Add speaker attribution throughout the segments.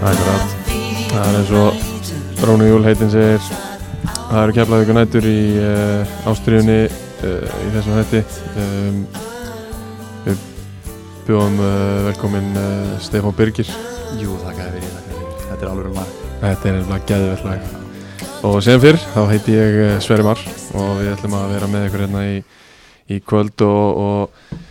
Speaker 1: Akkurat Það er eins og Rónu Júl heitin segir Það eru keflaðið nætur í uh, ástriðunni uh, í þessum hætti um, Við bjóðum uh, velkomin uh, Stefán Birgir
Speaker 2: Jú, þakka þér fyrir, þakka þér fyrir. Þetta er alveg lag.
Speaker 1: Þetta er nefnilega geðveld lag Og sem fyrr, þá heiti ég uh, Sverri Mar og við ætlum að vera með ykkur hérna í, í kvöld og, og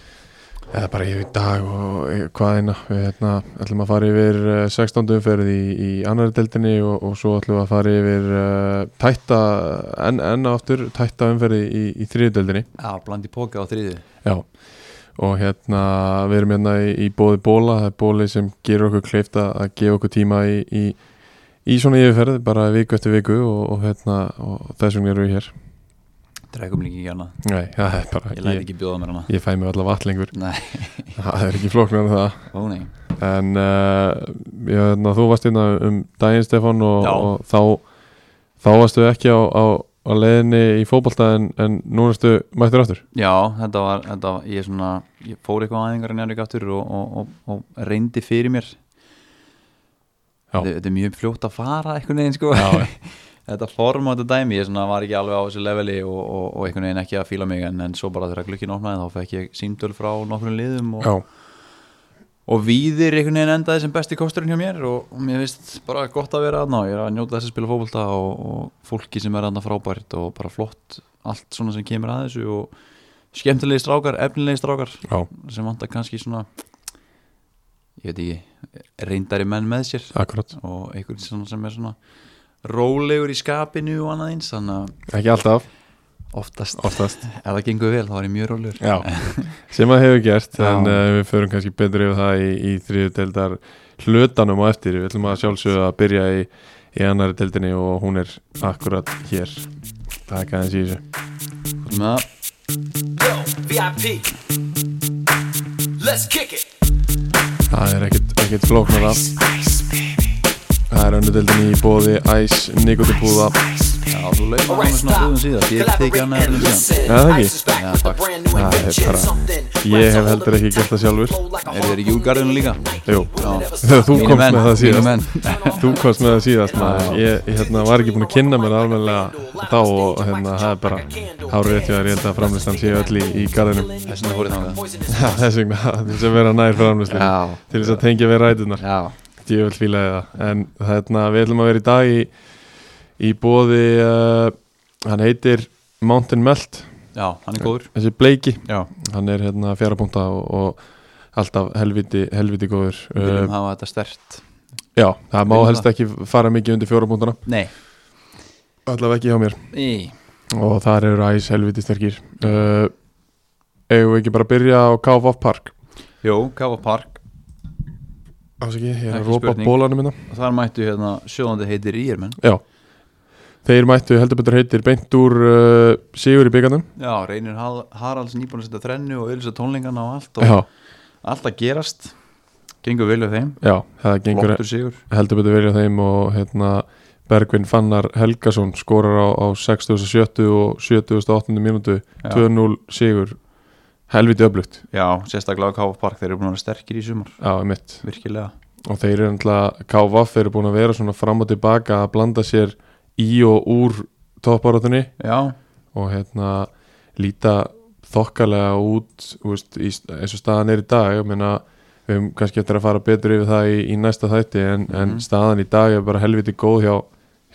Speaker 1: eða bara í dag og eh, hvað eina við hérna, ætlum að fara yfir uh, 16. umferð í, í annari deildinni og, og svo ætlum við að fara yfir uh, tætta, enn en aftur tætta umferði í, í þriðu deildinni
Speaker 2: Já, blandi póka á þriðu.
Speaker 1: Já, og hérna við erum hérna í, í bóði bóla, það er bóli sem gerur okkur kleifta að gefa okkur tíma í, í, í svona yfirferð, bara viku eftir viku og, og hérna, og þess vegna erum við hér.
Speaker 2: Dregum líka ekki hana.
Speaker 1: Nei, það er bara,
Speaker 2: Ég læt
Speaker 1: ég,
Speaker 2: ekki bjóða mér hana.
Speaker 1: ég fæ mig allavega vatn lengur,
Speaker 2: Nei,
Speaker 1: það er ekki flóknar en það.
Speaker 2: ó nei.
Speaker 1: En uh, hérna, þú varst hérna um daginn Stefán og,
Speaker 2: Já.
Speaker 1: og þá, þá varstu ekki á, á, á leiðinni í fótbolta en, en nú erstu mættur aftur.
Speaker 2: Já, þetta var, þetta var, ég svona, ég fór eitthvað aðingar en Jarík aftur og, og, og, og reyndi fyrir mér.
Speaker 1: Já.
Speaker 2: Þetta, þetta er mjög fljótt að fara eitthvað neginn, sko.
Speaker 1: Já,
Speaker 2: þetta form á þetta dæmi, ég svona var ekki alveg á þessu leveli og, og, og eitthvað neginn ekki að fíla mig en, en svo bara þegar glukkin opnaði þá fekk ég símdöl frá nokkrum liðum og,
Speaker 1: já,
Speaker 2: og víðir einhvern veginn endaði sem besti kosturinn hjá mér og, og mér finnst bara gott að vera aðna og ég er að njóta þess að spila fókbalta og, og fólki sem er aðna frábært og bara flott allt svona sem kemur að þessu og skemmtilegi strákar, efnilegi strákar
Speaker 1: já,
Speaker 2: sem vantar kannski svona ég veit ekki reyndari menn með sér
Speaker 1: akkurat.
Speaker 2: og einhvern svona sem er svona rólegur í skapinu og annað eins þannig að
Speaker 1: Ekki alltaf,
Speaker 2: oftast,
Speaker 1: oftast.
Speaker 2: ef það gengur vel þá er ég mjög rólegur
Speaker 1: Já, sem að hefur gert
Speaker 2: Já.
Speaker 1: en uh, við förum kannski betur yfir það í, í þriðudeldar hlutanum og eftir við ætlum að sjálfsögða að byrja í, í annari deldinni og hún er akkurat hér Takk aðeins í þessu
Speaker 2: Hvað með það?
Speaker 3: VIP. Let's kick it.
Speaker 1: Það er ekkit, ekkit flóknar af Það er önnu deldinni í bóði Æs, Nikotipúða
Speaker 2: Já, þú leiðum
Speaker 3: Alright,
Speaker 2: með svona
Speaker 3: stop.
Speaker 2: húðum síðast ég
Speaker 3: Collaborate
Speaker 2: tekið hann
Speaker 3: and
Speaker 2: eða síðan
Speaker 1: Já, það ekki.
Speaker 3: listen. Ice is back
Speaker 2: Já,
Speaker 3: with a
Speaker 2: fuck.
Speaker 3: brand new
Speaker 1: Já, það er
Speaker 3: invention,
Speaker 1: bara-
Speaker 3: something.
Speaker 1: Ég hef heldur ekki gert það sjálfur
Speaker 2: Eru þeir í Júgarðinu líka?
Speaker 1: Jú,
Speaker 3: Já.
Speaker 1: þú
Speaker 2: Mínir
Speaker 1: komst
Speaker 2: menn,
Speaker 1: með það
Speaker 2: mínir
Speaker 1: síðast
Speaker 2: menn.
Speaker 1: Þú komst með það síðast maður. Ég, ég hérna, var ekki búin að kynna mér alveglega þá og hérna, það er bara hárið rétt hjá þér, ég held að framlistan sé öll í, í garðinum
Speaker 2: Þess vegna fór ég þangað
Speaker 1: Já, þess vegna, til þess að vera nær framlislu
Speaker 2: Já.
Speaker 1: til þess að tengja við rætunar
Speaker 2: Já,
Speaker 1: ég vil fílaði það, en þarna við ætlum að vera í dag í, í bóði uh, hann heitir Mountain Melt,
Speaker 2: já, hann er góður
Speaker 1: þessi bleiki
Speaker 2: Já,
Speaker 1: hann er hérna fjarapunta og, og alltaf helviti, helviti góður
Speaker 2: við viljum
Speaker 1: uh,
Speaker 2: hafa þetta stert
Speaker 1: já, það má
Speaker 2: viljum
Speaker 1: helst
Speaker 2: það.
Speaker 1: ekki fara mikið undir fjórapuntana,
Speaker 2: Nei
Speaker 1: allavega ekki hjá mér
Speaker 2: Í
Speaker 1: og þar eru æs helviti sterkir uh, eigum við ekki bara að byrja á KFF Park
Speaker 2: Jó, Kafa Park
Speaker 1: ásaki, ég er
Speaker 2: Ekki
Speaker 1: að rópa
Speaker 2: spurning.
Speaker 1: bólanum minna
Speaker 2: Þar mættu hérna sjóðandi heitir Írmenn
Speaker 1: Já Þeir mættu heldur betur heitir beint úr uh, Sigur í byggandum
Speaker 2: Já, Reynir Har Haralds nýbúin að setja þrennu og auðvitað tónlingana og allt og
Speaker 1: já,
Speaker 2: allt að gerast Gengur vel við þeim
Speaker 1: já, það gengur e-
Speaker 2: Flottur sigur
Speaker 1: heldur betur verið á þeim og hérna, Bergvin Fannar Helgason skorar á, á 60.70 og 70.80 mínútu
Speaker 2: Já.
Speaker 1: 2-0 Sigur helviti öflugt
Speaker 2: Já, sérstaklega Kafa Park þeir eru búin að vera sterkir í sumar
Speaker 1: á mitt
Speaker 2: Virkilega
Speaker 1: og þeir eru náttúrulega KVF eru búin að vera svona fram og tilbaka að blanda sér í og úr topparátunni
Speaker 2: Já,
Speaker 1: og hérna líta þokkalega út þú veist, í, eins og staðan er í dag ég meina, við höfum kannski eftir að fara betur yfir það í, í næsta þætti en,
Speaker 2: Mhm.
Speaker 1: en staðan í dag er bara helviti góð hjá,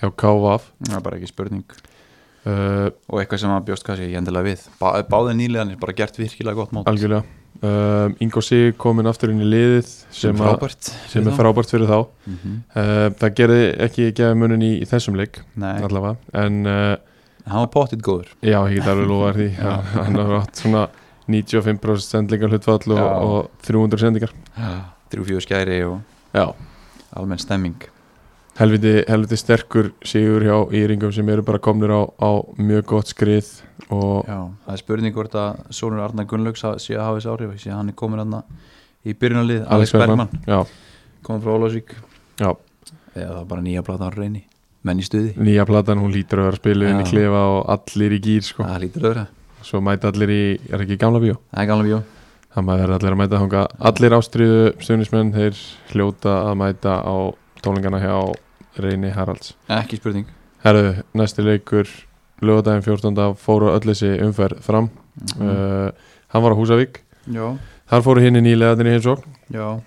Speaker 1: hjá KVF
Speaker 2: það er bara ekki spurning
Speaker 1: uh,
Speaker 2: Og eitthvað sem að bjóst kannski ekki endilega við Bá, Báði nýleganir bara gert virkilega gott mót
Speaker 1: algjörlega uh, Ingo Sig komin aftur inn í liðið sem, að-
Speaker 2: frábært
Speaker 1: sem er
Speaker 2: fyrir þá.
Speaker 1: frábært fyrir þá
Speaker 2: Mhm.
Speaker 1: uh, það gerði ekki gefa munin í, í þessum leik
Speaker 2: Nei,
Speaker 1: allavega en uh,
Speaker 2: hann var pottitt góður
Speaker 1: já, ég get alveg lofa því
Speaker 2: Já.
Speaker 1: hann har átt svona 95% sendlingar hlutfall og,
Speaker 2: Já.
Speaker 1: og 300 sendingar
Speaker 2: Þrjú fjögur skæri og
Speaker 1: já
Speaker 2: almenn stemming
Speaker 1: helviti, helviti sterkur sigur hjá Íringum sem eru bara komnir á, á mjög gott skrið og
Speaker 2: Já, það er spurning hvort að Sónur Arnar Gunnlaugs ha- sé að hafa þessi áhrif sé að hann er komin aðna í byrjunarlið Alex Bergman,
Speaker 1: já,
Speaker 2: komin frá Ólásvík
Speaker 1: já,
Speaker 2: eða það var bara nýja plata á reyni menn í stuði,
Speaker 1: nýja platan hún lítur að vera spiluð inn í
Speaker 2: Já.
Speaker 1: klefa og allir í gýr sko.
Speaker 2: það lítur öðra
Speaker 1: svo mæta allir í, er ekki í gamla bíó
Speaker 2: Það er gamla bjó,
Speaker 1: það maður verður allir að mæta þanga allir ástriðu stuðnismenn þeir hljóta að mæta á tónlingana hjá Reyni Haralds
Speaker 2: ekki spurning
Speaker 1: Herðu, næsti leikur lögadaginn 14. fóru öll þessi umferð fram
Speaker 2: Mm.
Speaker 1: uh, Hann var á Húsavík
Speaker 2: já,
Speaker 1: Þar fóru hinn í nýlegaðinni hins og
Speaker 2: já,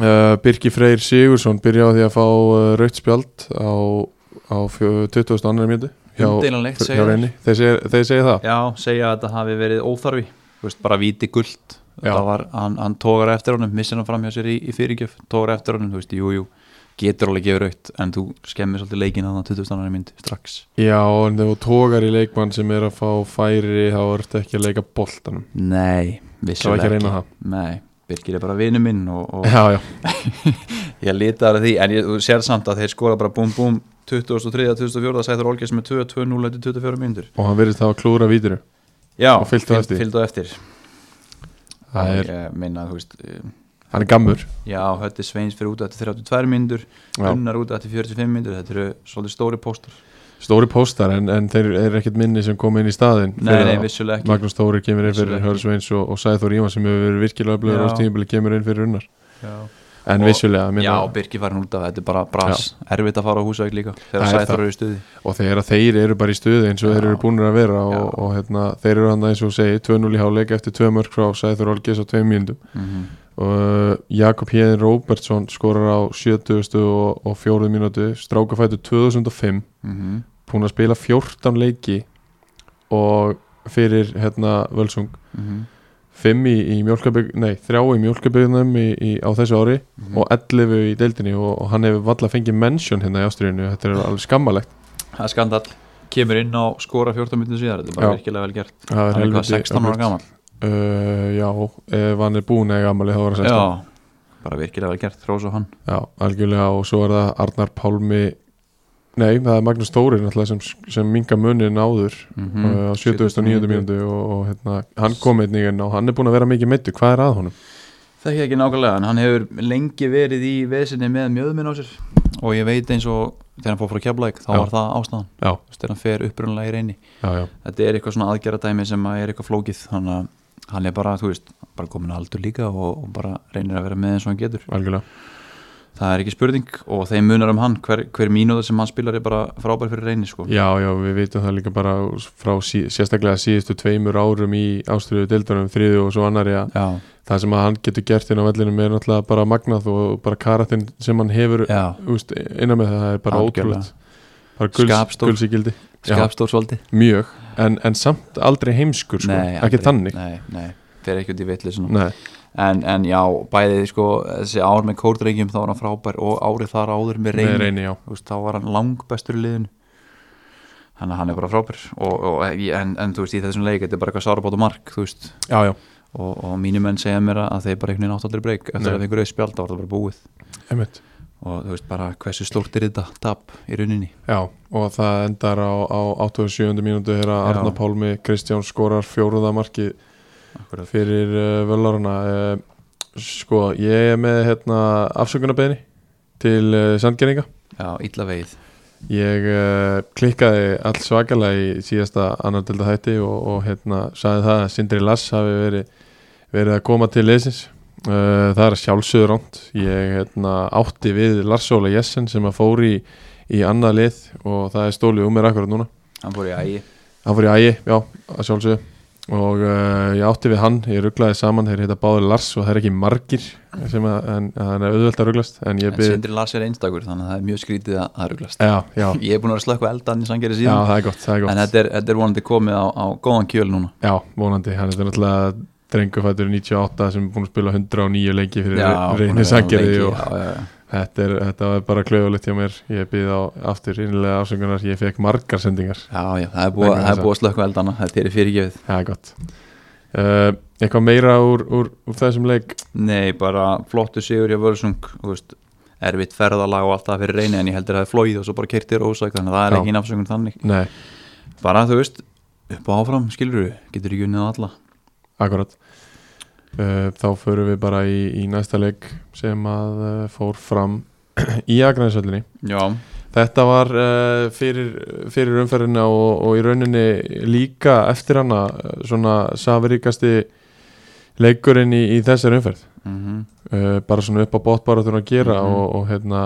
Speaker 1: uh, Birki Freyr Sigursson byrjaði á því að fá uh, rautt spjald á, á fjö- 22. annar mjöndu hjá,
Speaker 2: umdeilanlegt
Speaker 1: hjá
Speaker 2: segja
Speaker 1: Reyni Þeir segja, þeir segja það
Speaker 2: Já, segja að þetta hafi verið óþarfi Þú veist, bara víti guld
Speaker 1: Já.
Speaker 2: Þetta var, hann, hann tógar eftir honum, missir hann fram hjá sér í, í fyrirgjöf tógar eftir honum, þú veist, jú, jú getur alveg gefur aukt, en þú skemmir svolítið leikinn þannig að 2000 annar mynd strax
Speaker 1: Já, en þegar þú tókar í leikmann sem er að fá færi þá ertu ekki að leika boltanum
Speaker 2: Nei,
Speaker 1: Það var
Speaker 2: vissulega
Speaker 1: ekki að reyna það
Speaker 2: Nei, Birgir er bara vinur minn og, og
Speaker 1: Já, já,
Speaker 2: ég litar að því, en ég þú sér samt að þeir skora bara búm búm 2003, 2004, sættur Olgeir sem er 2, 2, 0, 24 myndur
Speaker 1: og hann virðist þá að klúra vítiru
Speaker 2: Já,
Speaker 1: Og fylgdu á
Speaker 2: fylg-
Speaker 1: eftir.
Speaker 2: fylgdu á eftir
Speaker 1: Það er,
Speaker 2: Ég meina, þú veist, um,
Speaker 1: hann er gammur
Speaker 2: Já, Hötti Sveins fyrir út eftir 32 myndur
Speaker 1: já.
Speaker 2: Unnar út eftir 45 myndur Þetta eru svolítið stóri póstur
Speaker 1: Stóri póstar, en, en þeir eru ekkert minni sem kom inn í staðinn
Speaker 2: Nei,
Speaker 1: fyrir
Speaker 2: nei,
Speaker 1: þá.
Speaker 2: vissulega ekki
Speaker 1: Magnús Þóri kemur inn
Speaker 2: Vissulega
Speaker 1: fyrir
Speaker 2: ekki.
Speaker 1: Hörnsveins og, og Sæþór Ívan sem hefur verið virkilega öflugur
Speaker 2: Já.
Speaker 1: á stíðinbili kemur inn fyrir unnar
Speaker 2: Já,
Speaker 1: En
Speaker 2: Og-
Speaker 1: vissulega, minna,
Speaker 2: já Birki farin út af þetta er bara bras Erfitt að fara á húsavík líka Þegar
Speaker 1: Það er það.
Speaker 2: Sæþór eru í stuði
Speaker 1: og þegar að þeir eru bara í stuði eins og
Speaker 2: Já.
Speaker 1: þeir eru búinir að vera og,
Speaker 2: Já.
Speaker 1: og hérna, þeir eru hann eins og þú segir 2-0 í háleik eftir 2 mörg frá Sæþór Olgis á 2 mínútum
Speaker 2: Mhm,
Speaker 1: og uh, Jakob Hjeðin Róbertsson skorar á 70 og, og 4 mínútu strákafætu 2005
Speaker 2: Mhm.
Speaker 1: búin að spila 14 leiki og fyrir hérna Völsung
Speaker 2: Mhm.
Speaker 1: 5 í, í mjólkabygg, nei 3 í mjólkabyggnum í, í, á þessu ári
Speaker 2: Mhm.
Speaker 1: og 11 í deildinni og, og hann hefur valla fengið mention hérna í ástriðinu, þetta er alveg skammalegt
Speaker 2: Það er skandal Kemur inn á skora 14 myndin síðar Þetta er bara
Speaker 1: Já.
Speaker 2: virkilega vel gert
Speaker 1: það
Speaker 2: Hann er hvað 16 ára gaman
Speaker 1: Uh, já, ef hann er búin eða gamali þá var hann 16
Speaker 2: Já, bara virkilega vel gert Rós og hann
Speaker 1: Já, algjörlega og svo er það Arnar Pálmi Nei, það er Magnús Þóri náttúrulega sem, sem minga munin áður
Speaker 2: Mhm.
Speaker 1: mm. á 79. mínútu og, og hérna, hann kom einnig inn og hann er búin að vera mikið meittu, hvað er að honum?
Speaker 2: Þekki ekki nákvæmlega, en hann hefur lengi verið í vesinni með mjöðminn á sér og ég veit eins og þegar hann fór frá Keflæk þá
Speaker 1: Já.
Speaker 2: var það ástæðan,
Speaker 1: Já,
Speaker 2: Þú veist, þegar hann fer upprunalega í reyni
Speaker 1: já, já,
Speaker 2: þetta er eitthvað svona aðgerðadæmi sem að er eitthvað flókið þannig að hann er bara, þú veist, bara komin að aldur líka og, og bara reynir að vera með eins og hann getur
Speaker 1: algjörlega
Speaker 2: það er ekki spurning og þeim munar um hann hver, hver mínúta sem hann spilar er bara frábær fyrir reyni sko.
Speaker 1: Já, já, við vitum það líka bara frá sí, sérstaklega síðustu tveimur árum í ástriðu deildunum, þriðu og svo annari að
Speaker 2: Já,
Speaker 1: það sem að hann getur gert inn á vellinum er náttúrulega bara magnað og bara karatinn sem hann hefur
Speaker 2: já,
Speaker 1: úst, innan með það, það er bara
Speaker 2: Algjörlega.
Speaker 1: ótrúlegt bara guls,
Speaker 2: Skapstór.
Speaker 1: gulsíkildi Já.
Speaker 2: skapstór svolítið
Speaker 1: mjög, en, en samt aldrei heimskur sko.
Speaker 2: Nei,
Speaker 1: ekki
Speaker 2: aldrei.
Speaker 1: þannig
Speaker 2: Nei, nei, fer ekki út í vitli svona
Speaker 1: Nei.
Speaker 2: en, en já, bæði sko þessi ár með kórdrengjum þá var hann frábær og árið þar áður með
Speaker 1: Nei,
Speaker 2: reyni,
Speaker 1: reyni, já
Speaker 2: Þú veist, þá var hann langbestur í liðinu þannig að hann er bara frábær og, og, en, en þú veist, í þessum leik þetta er bara eitthvað sárabátt og mark þú veist,
Speaker 1: Já, já,
Speaker 2: og, og mínum menn segja mér að þeir bara einhvern veginn átt aldrei breyk eftir
Speaker 1: Nei.
Speaker 2: að fengur auðspjald, þá var það bara búið
Speaker 1: einmitt
Speaker 2: og þú veist bara hversu stórt er þetta tap í rauninni
Speaker 1: Já, og það endar á, á 87. mínútu þegar
Speaker 2: Já.
Speaker 1: Arna Pálmi Kristján skorar fjóruða marki
Speaker 2: Akkurat.
Speaker 1: fyrir uh, völaruna uh, sko, ég er með hérna, afsökunarbeðni til uh, sandgeringa
Speaker 2: já, illa veið
Speaker 1: Ég uh, klikkaði alls svakalega í síðasta annar delta hætti og, og hérna sagði það að Sindri Lass hafi verið, verið að koma til leysins uh, það er sjálfsögur ránt ég hérna, átti við Lars Óla Jessen sem að fór í, í annað lið og það er stólið um mér akkurat núna
Speaker 2: hann fór í ægi
Speaker 1: hann fór í ægi, já, að sjálfsögur og uh, ég átti við hann, ég rugglaði saman þeir heita báður Lars og það er ekki margir sem að, en, að hann er auðvelt að rugglast en ég
Speaker 2: en
Speaker 1: byrði,
Speaker 2: Sindri Lars er einstakur þannig að það er mjög skrítið að að ruglast
Speaker 1: já, já,
Speaker 2: ég er búin að vera að slökka eldan í sangeri
Speaker 1: já,
Speaker 2: síðan
Speaker 1: það er gott, það er gott
Speaker 2: en þetta er, þetta er vonandi komið á, á góðan kjöl núna
Speaker 1: Já, vonandi, hann er náttúrulega drengufættur 98 sem er búin að spila 109 lengi fyrir
Speaker 2: búin að
Speaker 1: reyni
Speaker 2: vera
Speaker 1: sangjari
Speaker 2: lengi,
Speaker 1: og
Speaker 2: já, já, já.
Speaker 1: þetta, er, þetta var bara klauðulegt hjá mér ég býð á aftur innlega afsöngunar ég fekk margar sendingar,
Speaker 2: já, já, það er búið,
Speaker 1: Vegna
Speaker 2: það er
Speaker 1: þessa.
Speaker 2: búið að slökka eldana þetta er fyrirgefið
Speaker 1: það er gott uh, Eitthvað meira úr, úr, úr þessum leik
Speaker 2: nei, bara flottu sigur hjá Völsung þú veist, erfitt ferðalag og allt það fyrir reyni en ég heldur að það er flóið og svo bara kertir ósæk þannig að það er
Speaker 1: Já.
Speaker 2: ekki nafnsöngun þannig
Speaker 1: Nei,
Speaker 2: bara þú veist, upp og áfram, skilur þú getur ekki unnið alla
Speaker 1: akkurat uh, Þá förum við bara í, í næsta leik sem að uh, fór fram í Agrænsöllinni
Speaker 2: já,
Speaker 1: Þetta var uh, fyrir, fyrir umferðina og, og í rauninni líka eftir hana eh, svona safaríkasti leikurinn í, í þessari umferð Eh,
Speaker 2: mm
Speaker 1: uh, bara svona upp á bóttbáratur að gera
Speaker 2: Mhm.
Speaker 1: og, og hérna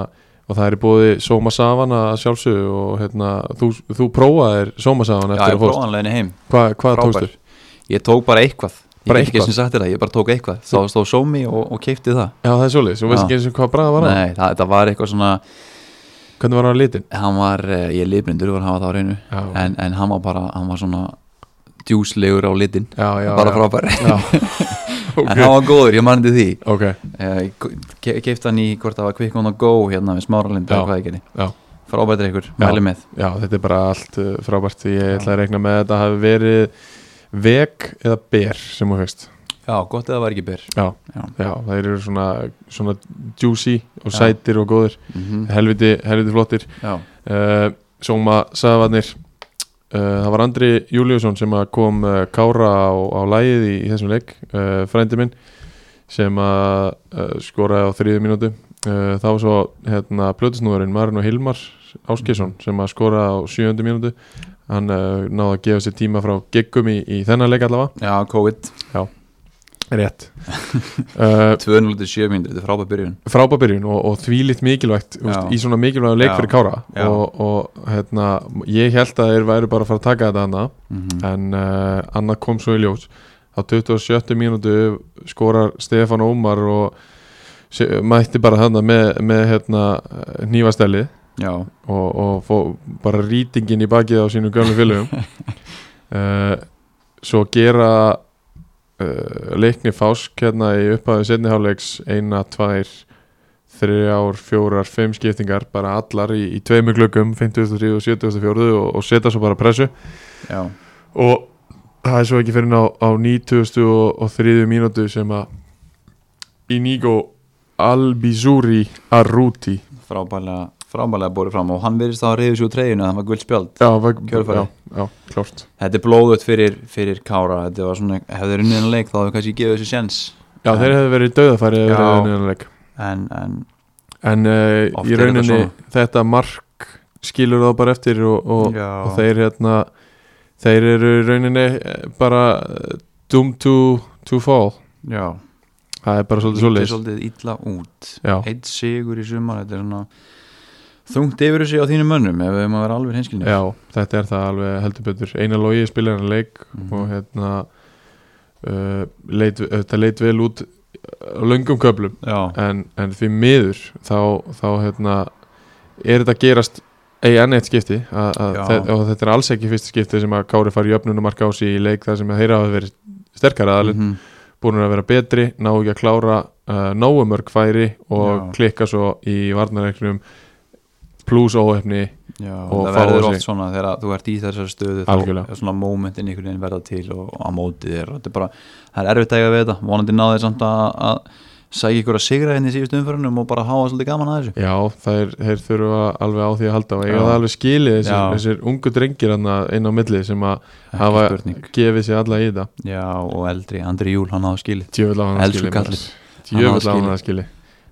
Speaker 1: og það er í bóði Soma Savana sjálfsög og hérna, þú, þú prófaðir Soma Savana
Speaker 2: Já,
Speaker 1: eftir
Speaker 2: ég
Speaker 1: að fórst
Speaker 2: prófaði leiðinni heim
Speaker 1: Hva, hvað
Speaker 2: Frábær.
Speaker 1: tókstu?
Speaker 2: Ég tók bara eitthvað Ég
Speaker 1: Bara
Speaker 2: get ekki
Speaker 1: eitthvað?
Speaker 2: sem sagt þér það, ég bara tók eitthvað Þá stóð sómi og, og keipti það
Speaker 1: Já það er svolítið, þú veist
Speaker 2: Já.
Speaker 1: ekki eins og hvað braða var á
Speaker 2: Nei, það, það var eitthvað svona
Speaker 1: hvernig var hann á litin?
Speaker 2: Hann var, eh, ég er lifblindur var hann var það á reynu
Speaker 1: Já,
Speaker 2: en, en hann var bara, hann var svona djúslegur á litin
Speaker 1: já, já,
Speaker 2: Bara
Speaker 1: já.
Speaker 2: frábær
Speaker 1: Já.
Speaker 2: En hann var góður, ég manndi því
Speaker 1: ok,
Speaker 2: Eh, Ég keipti hann í hvort það var Quick on the go hérna við smáralind
Speaker 1: Já.
Speaker 2: eða hvað ég geti
Speaker 1: já
Speaker 2: Frábært ykkur,
Speaker 1: Já.
Speaker 2: mæli með
Speaker 1: Já, þetta er bara allt uh, frábært Ég ætla að rekna með að þetta hafi verið veg eða ber sem þú veist
Speaker 2: Já, gott eða var ekki byr
Speaker 1: Já,
Speaker 2: Já.
Speaker 1: já það eru svona, svona juicy og
Speaker 2: Já.
Speaker 1: sætir og góðir
Speaker 2: mm -hmm.
Speaker 1: helviti, helviti flottir
Speaker 2: Já,
Speaker 1: uh, Sóma saðvarnir uh, Það var Andri Júliusson sem að kom uh, Kára á, á lægið í, í þessum leik uh, frændi minn sem að uh, skoraði á þriðu mínútu uh, það var svo hérna, plötusnúðurinn Marino Hilmar Áskjesson sem að skoraði á sjöundu mínútu hann uh, náði að gefa sér tíma frá geggum í, í þennan leik allavega
Speaker 2: já COVID
Speaker 1: rétt uh,
Speaker 2: 207 mínútur, þetta er frábært byrjun
Speaker 1: frábabyrjun og, og þvílitt mikilvægt
Speaker 2: Já.
Speaker 1: úst, í svona mikilvægum leik
Speaker 2: Já.
Speaker 1: fyrir Kára
Speaker 2: Já.
Speaker 1: og, og hérna, ég held að þeir væri bara að fara að taka þetta hana en uh, annað kom svo í ljós á 27. mínútu skorar Stefán Ómar og se- mætti bara þarna með, með hérna, nýfastelli
Speaker 2: Já,
Speaker 1: og, og fó, bara rýtingin í bakið á sínum gömlu fylgum uh, svo gera uh, leikni fásk hérna í upphæðu setniháleiks eina, tvær þrjár, fjórar, fimm skiptingar bara allar í, í tveimur glöggum 53 og 74 og, og setja svo bara pressu
Speaker 2: já
Speaker 1: og það er svo ekki fyrir á, á 90 og, og þriðu mínútu sem að Inigo Albizuri Arruti
Speaker 2: frábælega, frábælega borið fram og hann virðist þá að reyðu sér úr treyjunu að það var guld spjald
Speaker 1: já, var-
Speaker 2: Kjölfarið.
Speaker 1: já, já, klárt
Speaker 2: þetta er blóðut fyrir, fyrir Kára þetta var svona, hefði runnið hann leik þá hefði kannski gefið þessu sjens
Speaker 1: já, þeir hefðu verið döðafæri
Speaker 2: Já.
Speaker 1: en
Speaker 2: en, en
Speaker 1: uh,
Speaker 2: Oft
Speaker 1: í
Speaker 2: er þetta
Speaker 1: rauninni
Speaker 2: svona.
Speaker 1: þetta mark skilur þá bara eftir og, og,
Speaker 2: já,
Speaker 1: og þeir hérna þeir eru í rauninni eh, bara eh, doomed to, to fall
Speaker 2: já,
Speaker 1: það er bara svolítið
Speaker 2: Lítið
Speaker 1: svolítið
Speaker 2: svolítið illa út
Speaker 1: já,
Speaker 2: eitt sigur í sumar þetta er svona þungt yfir þessi á þínum mönnum ef við maður vera alveg hinskilni
Speaker 1: já, þetta er það alveg heldur betur eina logi spilaði hann leik
Speaker 2: Mhm.
Speaker 1: og hérna uh, leit, þetta leit vel út á löngum köflum
Speaker 2: já,
Speaker 1: en, en því miður þá, þá hérna, er þetta að gerast í enn eitt skipti að, að
Speaker 2: Já.
Speaker 1: þe- og þetta er alls ekki fyrsta skipti sem að Kári fari í öfnunumarka á sig í leik þar sem að þeirra hafa verið sterkara aðalinn,
Speaker 2: Mhm.
Speaker 1: búin að vera betri ná ekki að klára uh, náu mörg færi og
Speaker 2: Já.
Speaker 1: klikka svo í varnarreiknum pluss óhefni
Speaker 2: já
Speaker 1: og
Speaker 2: það
Speaker 1: fá
Speaker 2: verður
Speaker 1: þessi-
Speaker 2: oft svona þegar að þú ert í þessari stöðu
Speaker 1: Algjörlega.
Speaker 2: þá er svona momentin einhvern veginn verða til og og á móti þér og þetta er bara, það er erfitt að eiga við þetta vonandi náðið samt að, að sækja ykkur að sigra henni í síðustu umförunum og bara háa svolítið gaman að þessu
Speaker 1: Já, þeir, þeir þurfa alveg á því að halda og eiga
Speaker 2: Já.
Speaker 1: það alveg skilið þessir,
Speaker 2: Já.
Speaker 1: þessir ungu drengir hann inn á milli sem að
Speaker 2: Ekki
Speaker 1: hafa
Speaker 2: spurning.
Speaker 1: gefið sér alla í þetta
Speaker 2: Já, og eldri, Andri Júl, hann áður skilið
Speaker 1: Djöfull á hann að
Speaker 2: Elsku
Speaker 1: skili
Speaker 2: kallinn.
Speaker 1: maður. Djöfull á
Speaker 2: Hann á það
Speaker 1: hann að skili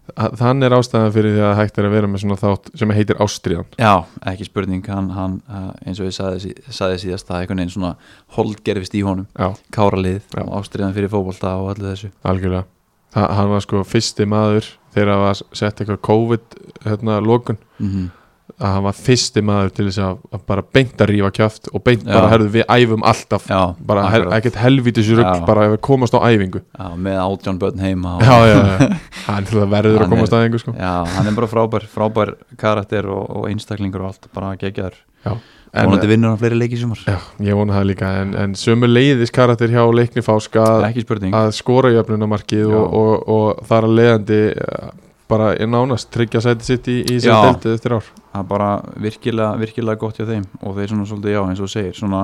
Speaker 1: Þann er ástæðan fyrir því að hægt er að vera með svona þátt sem heitir Ástriðan
Speaker 2: Já, ekki spurning, hann, hann uh, eins og ég sagði, sí- sagði síðast það er einhvern veginn svona holdgerfist í honum
Speaker 1: Já,
Speaker 2: káralið
Speaker 1: Já.
Speaker 2: og ástriðan fyrir fótbolta og allir þessu
Speaker 1: algjörlega Þa, Hann var sko fyrsti maður þegar það var sett eitthvað COVID hérna, lokun
Speaker 2: mm
Speaker 1: að hann var fyrsti maður til þess að, að bara beint að rífa kjaft og beint
Speaker 2: Já.
Speaker 1: bara herðu við æfum alltaf
Speaker 2: Já,
Speaker 1: bara her,
Speaker 2: akkurat.
Speaker 1: ekkert helvítis rugg
Speaker 2: Já.
Speaker 1: bara ef við komast á æfingu
Speaker 2: Já, með átján börn heima og,
Speaker 1: já, já, já. hann til að verður
Speaker 2: Hann
Speaker 1: að komast
Speaker 2: er-
Speaker 1: að einhver sko
Speaker 2: Já, hann er bara frábær, frábær karakter og, og einstaklingur og allt, bara geggjaður
Speaker 1: en,
Speaker 2: Vonandi vinnur hann fleiri leiki í sumar
Speaker 1: já, ég vona það líka en, en sömu leiðis karakter hjá leikni fáska að-
Speaker 2: Ekki spurning
Speaker 1: að skora jöfnunamarkið og,
Speaker 2: Já.
Speaker 1: og, og þar að leiðandi eh, bara er nánast tryggja sæti sitt í, í sér
Speaker 2: Já.
Speaker 1: deltið eftir ár
Speaker 2: Það er bara virkilega, virkilega gott hjá þeim og þeir svona svolítið, já, eins og þú segir svona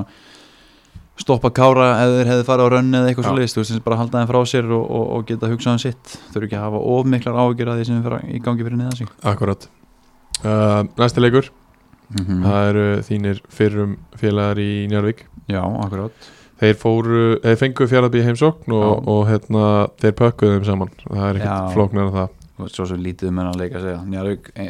Speaker 2: stoppa kára ef þeir hefði farið á rönni eða eitthvað
Speaker 1: Já.
Speaker 2: svolítið, þú veist, bara halda þeim frá sér og, og, og geta hugsað um sitt, þurfi ekki að hafa of miklar ágjur að því sem er í gangi fyrir neðan sig
Speaker 1: akkurat uh, næsti leikur,
Speaker 2: mm -hmm.
Speaker 1: það eru þínir fyrrum félagar í Njárvík
Speaker 2: Já, akkurát
Speaker 1: þeir fóru, þeir fengu fjárðabíð heimsókn og,
Speaker 2: Já.
Speaker 1: og hérna, þeir pökkuðu þeim saman það er
Speaker 2: Já.
Speaker 1: ekkert flóknar að það
Speaker 2: og svo sem lítið um hennar leika að segja Njarvík e,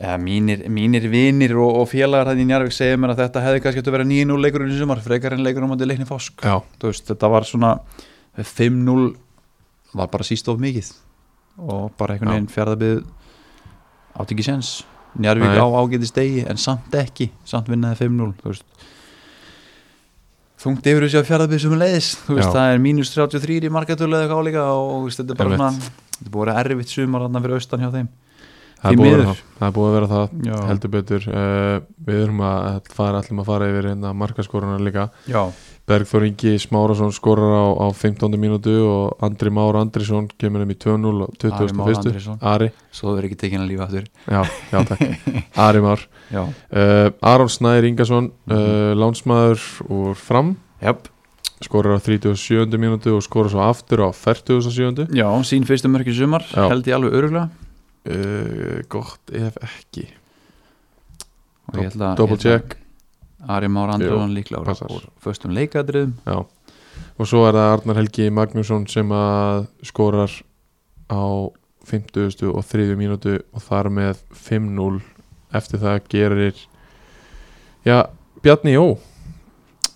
Speaker 2: e, mínir, mínir vinir og, og félagar þetta í Njarvík segja mér að þetta hefði kannski átt að vera 9-0 leikurinn í sumar, frekar en leikurinn á móti leikni fásk
Speaker 1: já,
Speaker 2: þú veist, þetta var svona 5-0 var bara síst of mikið og bara einhvern
Speaker 1: Já.
Speaker 2: veginn fjárðabíð átti ekki séns Njarvík
Speaker 1: Nei.
Speaker 2: á ágæti stegi en samt ekki samt vinnaði 5-0 þú veist þungt yfir þessu að fjaraðbyrð sem leiðis þú veist
Speaker 1: Já.
Speaker 2: það er mínus 33 í margatölu eða hvað álíka og þú veist, þetta er bara
Speaker 1: Einmitt.
Speaker 2: svona þetta er búið að vera erfitt sumar þarna fyrir austan hjá þeim
Speaker 1: það
Speaker 2: Því
Speaker 1: er búið að vera
Speaker 2: miður.
Speaker 1: það, það er búið að vera það
Speaker 2: já,
Speaker 1: heldur betur uh, við erum að fara, ætlum að fara yfir hérna markaskoruna líka
Speaker 2: já,
Speaker 1: Bergþór Ingi Smárasson skorar á, á 15. mínútu og Andri Már Andrisson kemur um í 2-0 á
Speaker 2: Ari Már
Speaker 1: 21.
Speaker 2: Andrésson.
Speaker 1: Ari,
Speaker 2: svo það verður ekki tekin að lífa aftur
Speaker 1: já, já takk Ari Már,
Speaker 2: já,
Speaker 1: uh, Aron Snæðir Ingarsson uh, lánsmaður úr fram
Speaker 2: Jáp.
Speaker 1: skorar á 37. mínútu og skorar svo aftur á 47.
Speaker 2: já sín fyrstu mörki sumar
Speaker 1: Já.
Speaker 2: held ég alveg öruglega
Speaker 1: Uh, gott ef ekki
Speaker 2: og ég held að-
Speaker 1: double
Speaker 2: ég held að
Speaker 1: check.
Speaker 2: Ari Már Andrjóðan líklega úr-
Speaker 1: passar.
Speaker 2: úr föstum leikadriðum
Speaker 1: Já, og svo er það Arnar Helgi Magnússon sem að skorar á 50. og 3. mínútu og þar með 5-0 eftir það gerir já, Bjarni Jó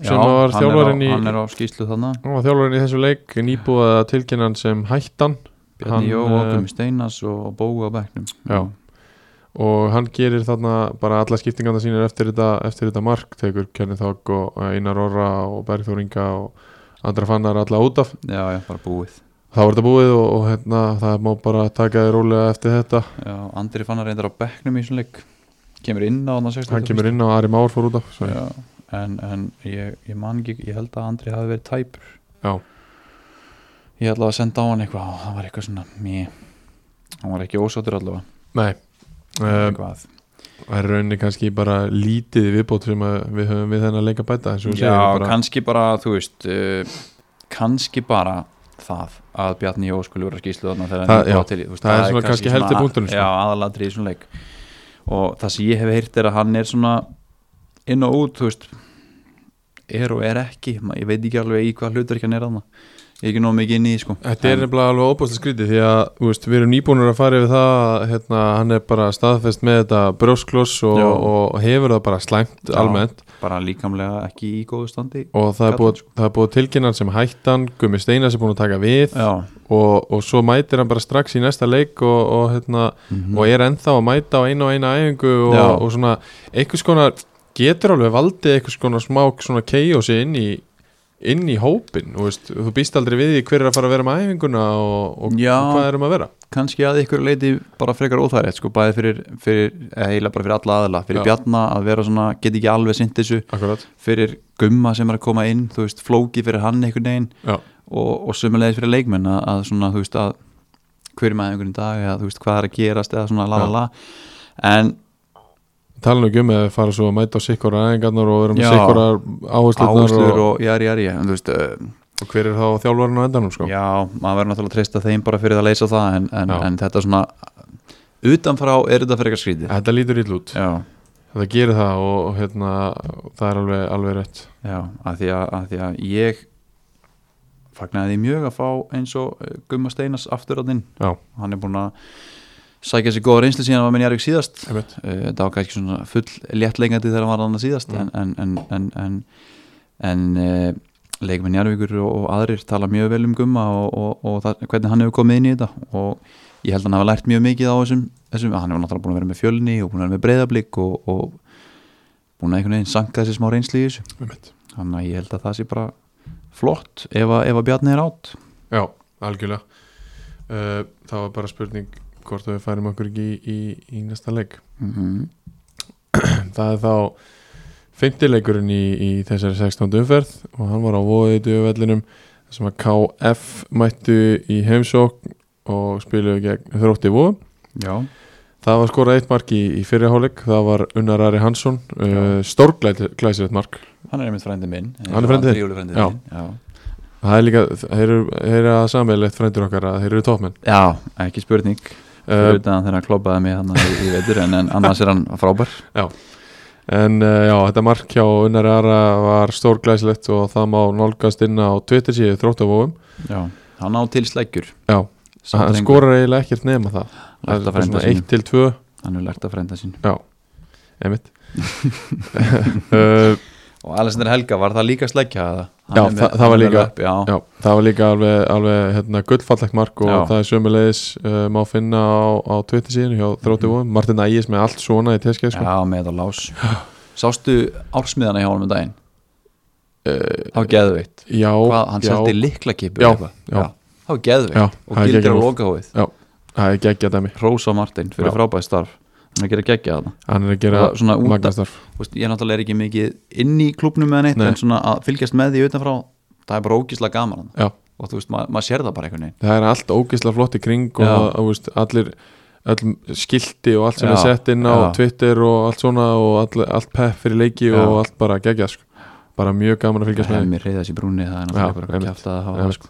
Speaker 1: sem var
Speaker 2: hann er á-
Speaker 1: þjálfarinn í
Speaker 2: hann er á skýslu þannig
Speaker 1: hann var þjálfarinn í þessu leik nýbúið að tilkynna hann sem hættan Hann,
Speaker 2: Bjarni Jó,
Speaker 1: eh,
Speaker 2: Ógum Steinas og Bóa Becknum
Speaker 1: Já. og hann gerir þarna bara alla skiptingana sínir eftir þetta, eftir þetta mark tekur Kenny Þók og eh, Einar Orra og Bergþór Inga og andra fannar alla út af
Speaker 2: já, já, bara búið
Speaker 1: þá er þetta búið og, og hérna, það má bara taka þér rólega eftir þetta
Speaker 2: já, Andri Fannar reyndar á Becknum í svona leik kemur inn á hann að 60
Speaker 1: hann kemur inn á Ari Már fór út af sorry.
Speaker 2: já, en, en ég, ég man ekki ég held að Andri hafi verið tæpur
Speaker 1: Já.
Speaker 2: ég ætlaði að senda á hann eitthvað og það var eitthvað svona mjö. hann var ekki ósáttur allavega
Speaker 1: nei, um,
Speaker 2: eitthvað.
Speaker 1: það er rauninni kannski bara lítið í viðbót sem að við höfum við þennan leika bæta eins og við
Speaker 2: já,
Speaker 1: segjum bara
Speaker 2: kannski bara þú veist uh, kannski bara það að Bjarni Jó skulle vera skýslu þarna þegar
Speaker 1: Það-
Speaker 2: hann er
Speaker 1: já.
Speaker 2: búið til í, þú veist,
Speaker 1: Það er svona kannski
Speaker 2: svona
Speaker 1: helsti
Speaker 2: að-
Speaker 1: punkturinn, sko.
Speaker 2: já, aðalatrið í svona leik og það sem ég hef heyrt er að hann er svona inn og út, þú veist er og er ekki, Ma- ég veit ekki alveg í hvað hlutur hann er þarna ég er ekki nóg mikið inn í því, sko
Speaker 1: Þetta er
Speaker 2: En-
Speaker 1: nefnilega alveg óbúslega skrítið því að þú veist, við erum nýbúnir að fara yfir það að, hérna, hann er bara staðfest með þetta brjóskloss og,
Speaker 2: Já.
Speaker 1: og hefur það bara slæmt
Speaker 2: Já.
Speaker 1: almennt
Speaker 2: bara líkamlega ekki í góðu standi
Speaker 1: og það er búið, það er búið tilkynnan sem hættan Gummi Steinas er búin að taka við
Speaker 2: já,
Speaker 1: og, og svo mætir hann bara strax í næsta leik og, og hérna, og er ennþá að mæta á einu og eina æfingu og,
Speaker 2: Mhm. Já.
Speaker 1: og svona einhvers konar getur alveg valdið einhvers konar smák svona keiósi inn í inn í hópin, þú veist, þú býst aldrei við því hver er að fara að vera með æfinguna og, og
Speaker 2: Já.
Speaker 1: hvað erum að vera
Speaker 2: kannski að ykkur leiti bara frekar óþægilegt sko, bæði fyrir, fyrir eða eiginlega bara fyrir alla aðila, fyrir
Speaker 1: Já.
Speaker 2: Bjarna að vera svona, get ekki alveg sint þessu,
Speaker 1: Akkurat,
Speaker 2: fyrir Gumma sem er að koma inn, þú veist, flóki fyrir hann einhvern veginn
Speaker 1: já,
Speaker 2: og, og sömulegis fyrir leikmenn að, að svona, þú veist, að hverjum að einhvern dag eða þú veist, hvað er að gerast eða svona la la
Speaker 1: Já.
Speaker 2: la en
Speaker 1: tala nú ekki um að fara svo að mæta á sikkora æfingarnar og vera með
Speaker 2: Já.
Speaker 1: sikkora áherslunar
Speaker 2: áherslur
Speaker 1: og,
Speaker 2: og jari jari, en þú veist uh,
Speaker 1: og hver er þá þjálfarinn á endanum sko
Speaker 2: Já, maður verður náttúrulega að treysta þeim bara fyrir að leysa það en, en,
Speaker 1: Já.
Speaker 2: en þetta svona utanfrá er þetta frekar skrítið
Speaker 1: Þetta lítur ill út,
Speaker 2: Já,
Speaker 1: þetta gerir það og, og hérna, það er alveg, alveg rétt
Speaker 2: já, að því að, að, því að ég fagnaði því mjög að fá eins og eh, Gumma Steinas aftur á þinn
Speaker 1: Já.
Speaker 2: hann er búinn að sækja sér góða reynslu síðan hann var minn Jarvík síðast
Speaker 1: Einmitt.
Speaker 2: Eh, þetta var kannski svona full léttlengandi þegar hann var hann síðast
Speaker 1: Mm.
Speaker 2: en, en, en, en, en, en leikmenn Jarvíkur og, og aðrir tala mjög vel um Gumma og, og, og það, hvernig hann hefur komið inn í þetta og ég held að hann hafa lært mjög mikið á þessum, þessum hann hefur náttúrulega búin að vera með fjölni og búin að vera með breyðablík og, og búin að einhvern veginn sanka þessi smá reynsli í þessu
Speaker 1: Einmitt.
Speaker 2: þannig að ég held að það sé bara flott ef að, ef að Bjarni er átt
Speaker 1: Já, algjörlega uh, Það var bara spurning hvort við færum okkur ekki í, í, í næsta leik
Speaker 2: mm
Speaker 1: Mhm.
Speaker 2: -hmm.
Speaker 1: Það er þá fymtileikurinn í, í þessari 16. umferð og hann var á voðið döfellinum sem að KF mættu í heimsókn og spiluðu gegn þrótti voð
Speaker 2: Já,
Speaker 1: Það var skorað eitt mark í, í fyrirháleik það var Unnar Ari Hansson uh, stórglæsilegt mark
Speaker 2: hann er einmitt frændi minn
Speaker 1: Hann er frændi þinn?
Speaker 2: Júli frændi
Speaker 1: Já.
Speaker 2: þinn, Já.
Speaker 1: Það er líka, þeir eru, þeir eru að sammeilegt frændur okkar að þeir eru toppmenn
Speaker 2: Já, ekki spurning
Speaker 1: uh,
Speaker 2: fyrir utan þegar hann kloppaði mig hann í, í veitur en, en annars er hann frábær
Speaker 1: En uh, já, þetta mark hjá Unnar Ara var stórglæslegt og það má nálgast inn á Twitter síðu þróttavóum.
Speaker 2: Já. hann á til sleggjur
Speaker 1: Já,
Speaker 2: Samt
Speaker 1: hann
Speaker 2: lengur.
Speaker 1: skorar eiginlega ekkert nema það. Það
Speaker 2: Lært
Speaker 1: er
Speaker 2: að frænda
Speaker 1: svona
Speaker 2: sín
Speaker 1: 1 til 2,
Speaker 2: hann er lært að frænda sín
Speaker 1: einmitt. Eh, uh,
Speaker 2: og Alessandr Helga var það líka sleggja eða? Hann
Speaker 1: Já,
Speaker 2: er með-
Speaker 1: það- það
Speaker 2: hann
Speaker 1: var
Speaker 2: er með
Speaker 1: líka-
Speaker 2: löpp, já.
Speaker 1: Já, það var líka alveg, alveg hérna, gullfallegt mark og
Speaker 2: Já.
Speaker 1: það er sömulegis uh, má finna á, á Twitter síðan hjá Þrótti Vóðum, Martin Ægis með allt svona í teskeið sko.
Speaker 2: Mhm. Já, með þetta lás Sástu ársmiðana hjá honum um daginn? Það var geðveitt
Speaker 1: Já,
Speaker 2: Hvað, hann
Speaker 1: já,
Speaker 2: seldi liklakipu
Speaker 1: Já,
Speaker 2: eða eitthvað?
Speaker 1: já.
Speaker 2: Það var geðveitt
Speaker 1: Já,
Speaker 2: og
Speaker 1: það er
Speaker 2: gildir á
Speaker 1: geggjað.
Speaker 2: lokahóið
Speaker 1: það er geggja dæmi
Speaker 2: Rósa Martin
Speaker 1: Já.
Speaker 2: fyrir frábæði starf Hann er að gera geggja þarna
Speaker 1: hann er að gera
Speaker 2: Og svona út að-
Speaker 1: magnastarf
Speaker 2: Þú veist, Ég náttúrulega er ekki mikið inn í klubnum með neitt
Speaker 1: Nei.
Speaker 2: En svona að fylgjast með því utanfrá Það er bara ógislega gaman þarna.
Speaker 1: Já,
Speaker 2: Og þú veist, ma maður sér það bara einhvern veginn
Speaker 1: það er allt ógisla flott í kring og
Speaker 2: Já.
Speaker 1: það, þú veist, allir all skilti og allt sem
Speaker 2: Já,
Speaker 1: er sett inn á
Speaker 2: já.
Speaker 1: Twitter og allt svona og all, allt pepp fyrir leiki
Speaker 2: Já.
Speaker 1: og allt bara geggja sko. bara mjög gaman að fylgjast með því.
Speaker 2: Hemmi reyðas í brúnni Það er náttúrulega
Speaker 1: Já,
Speaker 2: bara
Speaker 1: einmitt.
Speaker 2: ekki aftur að hafa það,
Speaker 1: Einmitt.
Speaker 2: sko.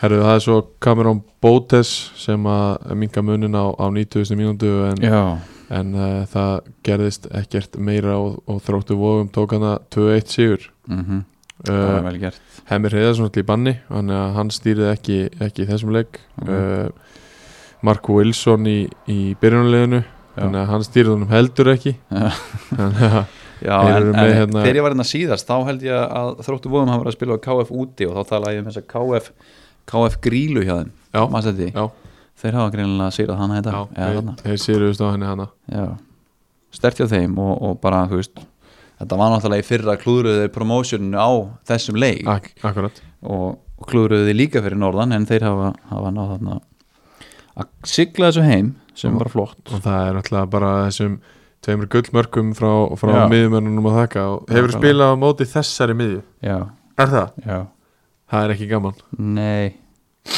Speaker 1: Herru, það er svo Cameron Botes sem að minga munin á, á 90. mínúndu en,
Speaker 2: Já,
Speaker 1: en uh, það gerðist ekkert meira og, og þróttu vofum tók hana 2-1 sigur
Speaker 2: mhm, það er
Speaker 1: uh,
Speaker 2: vel gert
Speaker 1: Hemir Heiðarsson allir í banni þannig að hann stýrið ekki, ekki þessum leik
Speaker 2: Mhm.
Speaker 1: uh, Mark Wilson í, í byrjunuleginu þannig að hann stýrið honum heldur ekki
Speaker 2: Já.
Speaker 1: þannig að
Speaker 2: Já,
Speaker 1: Þeir
Speaker 2: en,
Speaker 1: eru
Speaker 2: en
Speaker 1: með hérna-
Speaker 2: þegar ég var hérna síðast þá held ég að þróttu vóðum hafa verið að spila á KF úti og þá talaði ég um þess að KF KF grílu hjá þeim
Speaker 1: Já.
Speaker 2: Manstu eftir því?
Speaker 1: Já.
Speaker 2: þeir hafa greinilega hérna. að sýra þannig
Speaker 1: já,
Speaker 2: þetta
Speaker 1: þeir- þeir sýriðust á henni hana
Speaker 2: ja, stert hjá þeim og, og bara þú veist þetta var náttúrulega í fyrra klúðruðu þeir promotioninu á þessum leik
Speaker 1: Ak akkurat
Speaker 2: og, og klúðruðu þeir líka fyrir norðan en þeir hafa, hafa náð þarna að sigla þessu heim sem var flott
Speaker 1: og það er náttúrulega bara þessum tveimur gullmörkum frá, frá
Speaker 2: Já.
Speaker 1: miðumönnunum að þakka og hefur
Speaker 2: Nákvæmlega.
Speaker 1: spilað á móti þessari miðju
Speaker 2: já,
Speaker 1: er það?
Speaker 2: já,
Speaker 1: Það er ekki gaman
Speaker 2: nei
Speaker 1: er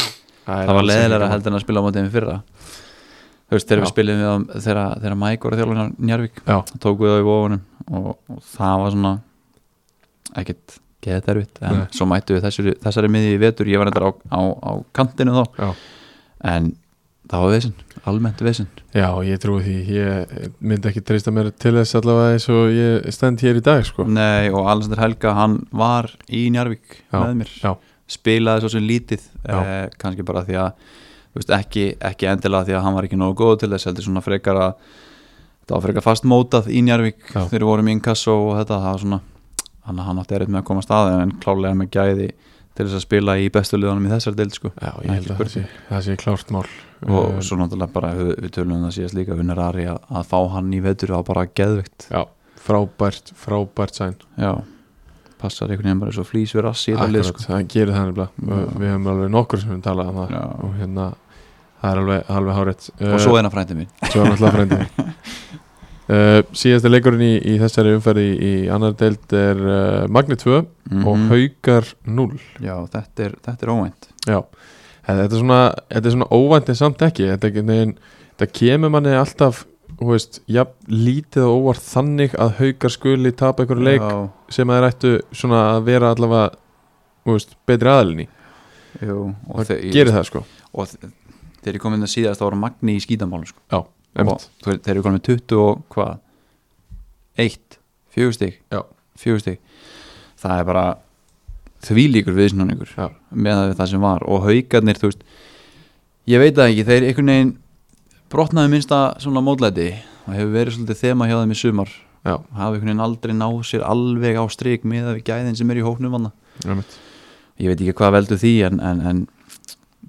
Speaker 2: það var
Speaker 1: alls
Speaker 2: leðilega
Speaker 1: ekki
Speaker 2: heldur en að spila á mótið þeim fyrra þú veist, þegar
Speaker 1: Já.
Speaker 2: við spilum við á, þegar, þegar Mike var að þjálfa Njarvík
Speaker 1: gaman.
Speaker 2: tók við þá í vofunum og, og það var svona ekkert geðið erfitt en
Speaker 1: Nei.
Speaker 2: svo mættu við þessari, þessari miði í vetur ég var þetta á, á, á kantinu þá
Speaker 1: Já, já.
Speaker 2: en það var vesen, almennt vesen
Speaker 1: já, ég trúi því ég myndi ekki treysta mér til þess allavega eins og ég stend hér í dag sko.
Speaker 2: Nei, og Alessandur Helga, hann var í Njarvík
Speaker 1: Já,
Speaker 2: með mér
Speaker 1: já.
Speaker 2: spilaði svo sem lítið
Speaker 1: Já.
Speaker 2: eh, kannski bara því að þú veist, ekki, ekki endilega því að hann var ekki nógu góð til þess heldur svona frekar að þetta var frekar fast mótað í Njarvík
Speaker 1: Já.
Speaker 2: þegar við vorum í inkasso og þetta það var svona hann, hann átti erut með að koma að staði en klálega með gæði til þess að spila í bestu liðanum í þessar deild sko.
Speaker 1: Já, ég held að það sé, það sé klárt mál
Speaker 2: og
Speaker 1: Um,
Speaker 2: svo náttúrulega bara við, við tölum um það síðast líka Unnar Ari að, að fá hann í vetur var bara geðvikt
Speaker 1: Já, frábært, frábært sæn
Speaker 2: Já, passar einhvern veginn bara svo flýs við rass í þetta lið
Speaker 1: Akkurat,
Speaker 2: sko.
Speaker 1: það gerir það nefnilega Við-
Speaker 2: Já.
Speaker 1: Við hefum alveg nokkur sem við talað um það
Speaker 2: Já.
Speaker 1: og hérna, það er alveg, alveg hárétt
Speaker 2: sko. og svo er hann frændi mín
Speaker 1: Svo er náttúrulega frændi minn uh, Síðasta leikurinn í, í þessari umferði í annar deild er uh, Magni 2 og Haukar 0
Speaker 2: Mhm. já, þetta er, þetta er óvænt
Speaker 1: Já, En þetta er svona, þetta er svona óvænt en samt ekki Þetta, er einhvern veginn- þetta kemur manni alltaf þú veist, jafn lítið og óvart þannig að Haukar skuli tapa einhverju leik
Speaker 2: já,
Speaker 1: sem að þeir ættu svona að vera allavega þú veist, betri aðalinni
Speaker 2: jú, og,
Speaker 1: Það
Speaker 2: þe
Speaker 1: Gerir það sko
Speaker 2: og þe- þeir eru komin að síðast þá voru Magni í skítamálun sko. og
Speaker 1: Einmitt.
Speaker 2: þeir, þeir eru komin með 20 og hvað eitt, fjögur stig
Speaker 1: Já.
Speaker 2: fjögur stig það er bara þvílíkur viðsnúningur
Speaker 1: Já.
Speaker 2: með það sem var og haugarnir, þú veist ég veit það ekki, þeir einhvern veginn brotnaði minnsta svona mótlæti og hefur verið svolítið þema hjá þeim í sumar
Speaker 1: Já.
Speaker 2: hafa einhvern veginn aldrei náð sér alveg á strik með að við gæðin sem er í hóknum vanna
Speaker 1: Einmitt.
Speaker 2: ég veit ekki hvað veldur því en, en, en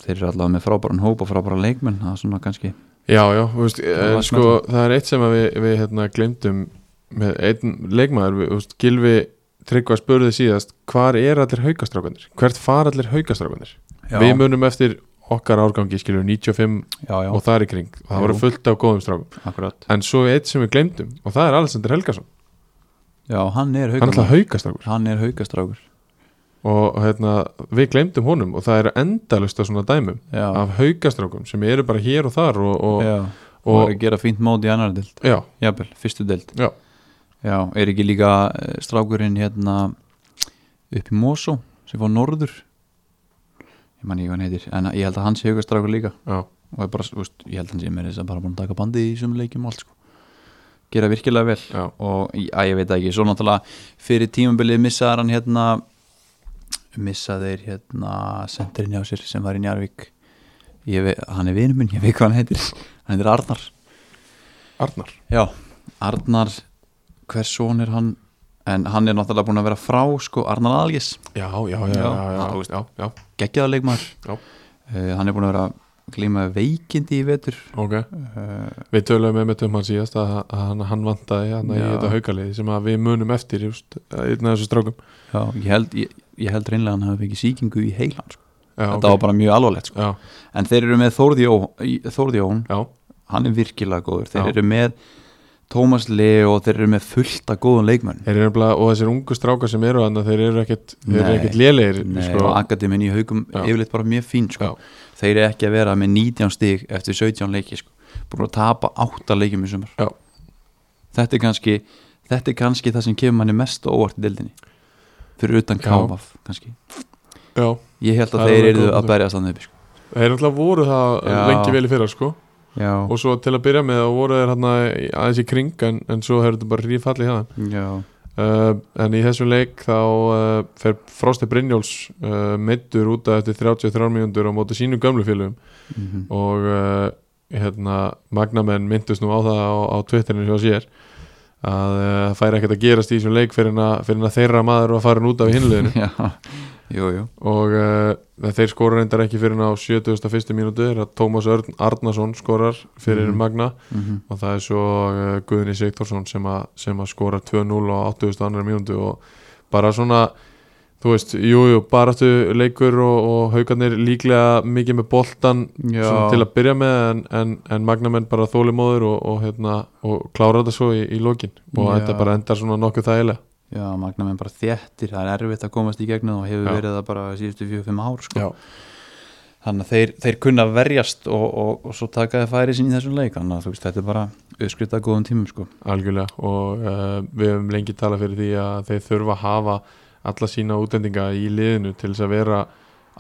Speaker 2: þeir eru allavega með frábæran hóp og frábæran leikmenn það er svona kannski
Speaker 1: Já, já, þú veist,
Speaker 2: var
Speaker 1: en, sko, það er eitt sem að við, við hérna, glemdum með einn leikmaður, við, þú veist, Gilvi Tryggva spurði síðast, hvar er allir haukastrákanir? Hvert fara allir haukastrákanir? Við munum eftir okkar árgangi, skilur 95
Speaker 2: já, já,
Speaker 1: og þar í kring og það
Speaker 2: Jú.
Speaker 1: voru fullt af góðum strákum
Speaker 2: akkurat
Speaker 1: en svo er eitt sem við glemdum og það er Alessandur Helgason,
Speaker 2: já, hann er
Speaker 1: hann er alltaf
Speaker 2: haugastrákur
Speaker 1: haukastrákur
Speaker 2: hann er haugastrákur
Speaker 1: og hérna, við glemdum honum og það eru endalust af svona dæmum
Speaker 2: já,
Speaker 1: af haukastrákum sem eru bara hér og þar og, og,
Speaker 2: já, og
Speaker 1: og,
Speaker 2: er að gera fínt mót í annar dild
Speaker 1: já,
Speaker 2: jafnvel, fyrstu dild
Speaker 1: Já.
Speaker 2: já, er ekki líka eh, strákurinn hérna upp í Mosó sem fór norður ég man ekki hvað hann heitir en ég held að hann sé haugastrákur líka
Speaker 1: já,
Speaker 2: og er bara, þú veist, ég held að hann sé með þess að segja meira að segja bara búin að taka bandi í sum leikjum og allt sko. gera virkilega vel
Speaker 1: já,
Speaker 2: og í- að ég veit það ekki, svo náttúrulega fyrir tímabilið missaðar hann hérna missaðir hérna sendirinn hjá sér sem var í Njarvík ég veit, hann er vinur minn, ég veit hvað hann heitir hann heitir Arnar
Speaker 1: Arnar
Speaker 2: já, Arnar, hvers son er hann en hann er náttúrulega búin að vera frá sko Arnar Algis
Speaker 1: já, já, já,
Speaker 2: Já,
Speaker 1: já, já,
Speaker 2: þú
Speaker 1: já,
Speaker 2: veist.
Speaker 1: já, já.
Speaker 2: geggjaða leikmaður
Speaker 1: Já.
Speaker 2: Eh, hann er búin að vera að glíma við veikindi í vetur
Speaker 1: ok
Speaker 2: uh,
Speaker 1: Við töluðum einmitt um hann síðast að að hann, hann vantaði hann í
Speaker 2: Já.
Speaker 1: þetta haukalið sem að við munum eftir just, einn af þessu strákum
Speaker 2: já, ég held, ég, ég held reynlega að hann hafi fengið sýkingu í heilan sko.
Speaker 1: Já,
Speaker 2: þetta var bara mjög alvarlegt sko.
Speaker 1: Já,
Speaker 2: en þeir eru með Þórðjó, Þórðjón
Speaker 1: já,
Speaker 2: hann er virkilega góður, þeir
Speaker 1: Já.
Speaker 2: eru með Tómas Leo og þeir eru með fullta góðum leikmenn
Speaker 1: þeir eru nefnilega og þessir ungu strákar sem eru þannig þeir eru ekkit, þeir eru
Speaker 2: Nei.
Speaker 1: ekkit lélegir
Speaker 2: Nei,
Speaker 1: sko.
Speaker 2: og Akademinn í haugum
Speaker 1: Já.
Speaker 2: yfirleitt bara mjög fín sko. þeir eru ekki að vera með 19 stig eftir 17 leiki sko. búin að tapa 8 leikjum í sumar
Speaker 1: Já.
Speaker 2: þetta er kannski þetta er kannski það sem kemur manni mest á óvart í deildinni fyrir utan
Speaker 1: Já.
Speaker 2: KVF kannski
Speaker 1: já,
Speaker 2: ég held
Speaker 1: Það er
Speaker 2: að þeir
Speaker 1: alveg
Speaker 2: eru
Speaker 1: góð punktur.
Speaker 2: að berja þannig upp sko.
Speaker 1: þeir eru alltaf voru það
Speaker 2: Já.
Speaker 1: lengi vel í fyrra sko.
Speaker 2: já,
Speaker 1: og svo til að byrja með þá voru þeir hann aðeins í kring en, en svo hefur þetta bara rífallið hérna
Speaker 2: já,
Speaker 1: uh, en í þessum leik þá uh, fer Frosti Brynjóls uh, meittur út að eftir 33 mínútur á móti sínum gömlu félögum
Speaker 2: mhm,
Speaker 1: og uh, hérna, magnamenn myndust nú á það á, á Twitterinu hjá sér að uh, það færi ekkert að gerast í þessum leik fyrir en að, fyrir að þeirra maður var farin út af hinliðinu
Speaker 2: já jú, jú,
Speaker 1: og uh, þeir skora reyndar ekki fyrir en á 71. mínútu er að Tómas Örn Arnason skorar fyrir
Speaker 2: Mhm.
Speaker 1: Magna
Speaker 2: mhm,
Speaker 1: og það er svo uh, Guðni Sigthorsson sem, að- sem að skora 2-0 á 82. mínútu og bara svona þú veist, jújú, jú, baratu leikur og, og haugarnir líklega mikið með boltan
Speaker 2: já
Speaker 1: svona til að byrja með en, en, en magnamenn bara þólimóður og, og, hérna, og klára þetta svo í, í lokin og
Speaker 2: Já.
Speaker 1: þetta bara endar svona nokkuð þægilega
Speaker 2: Já, magnamenn bara þéttir, það er erfitt að komast í gegnum og hefur
Speaker 1: Já.
Speaker 2: verið það bara síðustu 4-5 ár sko.
Speaker 1: Já.
Speaker 2: þannig að þeir, þeir kunna að verjast og, og, og svo taka þeir færi sín í þessum leik þannig að þú veist, þetta er bara uppskrift að góðum tímum sko.
Speaker 1: algjörlega og uh, við höfum lengi talað fyrir því að þeir þurfa að hafa alla sína útlendinga í liðinu til þess að vera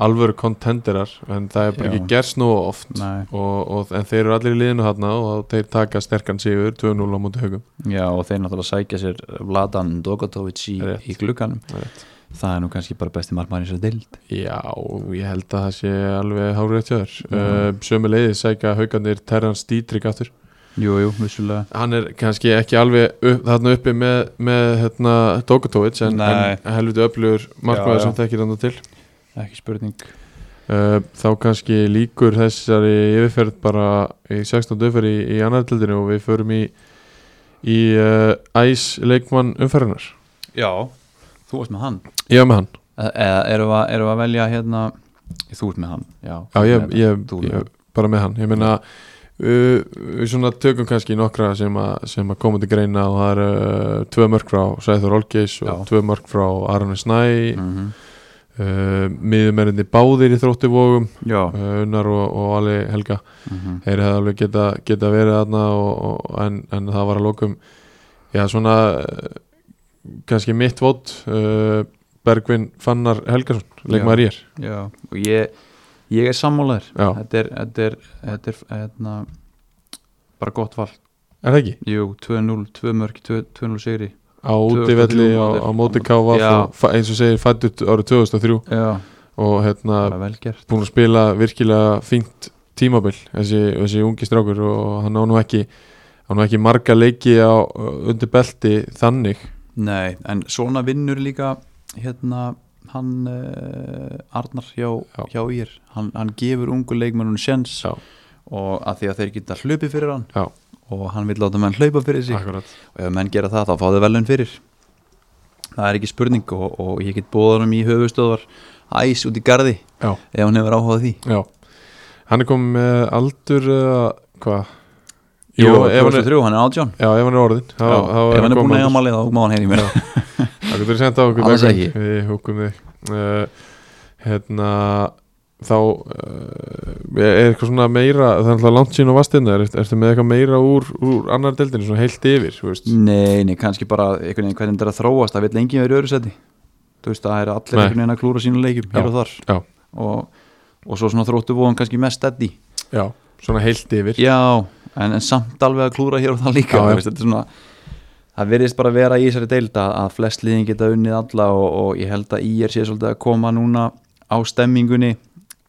Speaker 1: alvöru kontenderar en það er bara
Speaker 2: Já.
Speaker 1: ekki gerst nú oft
Speaker 2: Nei.
Speaker 1: og, og, en þeir eru allir í liðinu þarna og þeir taka sterkan sigur 2-0 á múti haugum
Speaker 2: Já, og þeir náttúrulega sækja sér Vladan Dogotovic í,
Speaker 1: Rétt.
Speaker 2: í glugganum
Speaker 1: Rétt.
Speaker 2: það er nú kannski bara besti margmæri sem dild
Speaker 1: Já, ég held að það sé alveg hárétt hjá þér
Speaker 2: Já.
Speaker 1: uh, sömu leiði sækja haugarnir Terran Stítrik aftur
Speaker 2: Jú, jú, vissulega
Speaker 1: hann er kannski ekki alveg upp, þarna uppi með, með hérna, Dokutovic en,
Speaker 2: Nei.
Speaker 1: en helviti öflugur
Speaker 2: Já, já.
Speaker 1: markmaður sem þekkir hann til
Speaker 2: ekki spurning
Speaker 1: uh, þá kannski líkur þessari yfirferð bara í 16. umferð í, í annar tildinu og við förum í í uh, æs leikmann umferðinar
Speaker 2: Já, þú varst með hann
Speaker 1: ég er með hann,
Speaker 2: E- eða erum við að, erum við að velja hérna þú ert með hann, já,
Speaker 1: já ég, ég,
Speaker 2: Þú-
Speaker 1: ég bara með hann, ég meina uh, við svona tökum kannski nokkra sem, a, sem að koma til greina og það er uh, tvö mörg frá Sæður Olgeis og
Speaker 2: Já.
Speaker 1: tvö mörg frá Arne Snæ
Speaker 2: Mhm.
Speaker 1: uh, miðumerinni báðir í þróttivogum
Speaker 2: Já,
Speaker 1: uh, Unnar og, og Ali Helga
Speaker 2: mhm.
Speaker 1: þeir hefði alveg geta, geta verið þarna og, og, en, en það var að lokum já svona uh, kannski mitt vót uh, Bergvin Fannar Helgason leikmaður ég er
Speaker 2: Já, og ég, ég er sammálaður
Speaker 1: Já.
Speaker 2: Þetta er, þetta er, þetta er hérna, bara gott val
Speaker 1: er það ekki?
Speaker 2: Jú, 2-0, 2 mörg, 2-0 sigri
Speaker 1: á útivelli á, á
Speaker 2: 2003
Speaker 1: móti KV
Speaker 2: Já.
Speaker 1: og fa- eins og segir fættut árið 2003
Speaker 2: Já,
Speaker 1: og hérna
Speaker 2: bara vel gert
Speaker 1: búin að spila virkilega fínt tímabil þessi, þessi ungi strákur og hann á nú ekki hann á nú ekki marga leiki á, undir belti þannig
Speaker 2: Nei, en svona vinnur líka hérna hann uh, Arnar hjá,
Speaker 1: Já.
Speaker 2: hjá ír hann, hann gefur ungu leikmennun sens
Speaker 1: Já.
Speaker 2: og að því að þeir geta hlupið fyrir hann
Speaker 1: Já.
Speaker 2: og hann vil láta menn hlaupa fyrir sig
Speaker 1: Akkurat.
Speaker 2: og ef menn gera það þá fá þau velun fyrir það er ekki spurning og, og ég get bóðanum í höfustöðvar æs út í gardi
Speaker 1: Já.
Speaker 2: ef hann hefur áhugað því
Speaker 1: Já. Hann er komið með aldur eða hvað?
Speaker 2: Jú,
Speaker 1: ef hann er,
Speaker 2: 2003, hann er átján
Speaker 1: já, ef hann er orðin þá,
Speaker 2: Já,
Speaker 1: þá
Speaker 2: ef hann er búin að
Speaker 1: kominn
Speaker 2: eiga
Speaker 1: aldur.
Speaker 2: málið þá má hann heyri mér
Speaker 1: Það getur sendt á okkur
Speaker 2: Alls
Speaker 1: Bergvin.
Speaker 2: ekki.
Speaker 1: Við húkum þig uh, Hérna þá uh, er eitthvað svona meira það er alltaf langt sín og vastinna hérna. er, ertu með eitthvað meira úr, úr annar deildinu svona heilt yfir þú
Speaker 2: Mm,
Speaker 1: veist?
Speaker 2: Nei, nei, kannski bara einhvern veginn hvernig þetta er að þróast það vil enginn verið öru seti þú veist, það er allir
Speaker 1: Nei.
Speaker 2: einhvern veginn að klúra sínu leikjum hér
Speaker 1: Já,
Speaker 2: og þar
Speaker 1: já.
Speaker 2: og, og svo svona þróttu vóðum kannski mest steddi
Speaker 1: Já, svona heilt yfir
Speaker 2: Já, en, en samt alveg að klúra hér og þar líka
Speaker 1: Já,
Speaker 2: þú
Speaker 1: já.
Speaker 2: veist, þetta er svona Það virðist bara vera í þessari deild að, að flest liðin geta unnið alla og, og ég held að IR sé svolítið að koma núna á stemmingunni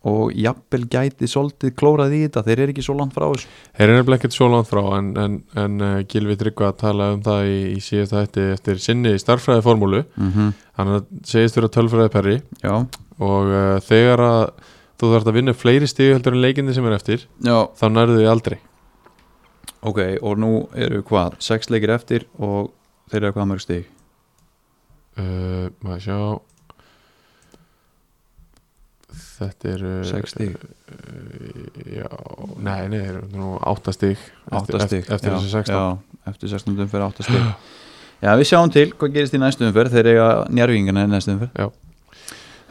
Speaker 2: og jafnvel gæti svolítið klórað í þetta þeir eru ekki svo langt frá þessu
Speaker 1: Þeir eru nefnilega ekkert svo langt frá en, en, en uh, Gilvi Tryggva talaði um það í, í síðasta hætti eftir sinni starffræði formúlu hann er- segist fyrir að tölfræði perri
Speaker 2: Mhm, já,
Speaker 1: og uh, þegar að þú þarfst að vinna fleiri stíu heldur en leikindi sem er eftir
Speaker 2: já,
Speaker 1: þá nærðu því aldrei
Speaker 2: ok og nú eru hvað, sex leikir eftir og þeir eru hvað mörg stig
Speaker 1: uh, maður sjá þetta eru
Speaker 2: Sex stig.
Speaker 1: uh, já, nei, nei, þeir eru nú átta stík
Speaker 2: átta stig
Speaker 1: eftir, eftir
Speaker 2: já,
Speaker 1: þessu sextán
Speaker 2: já, eftir 16 umferð átta stig já, við sjáum til hvað gerist í næstu umferð þeir eiga njárvingana í næstu umferð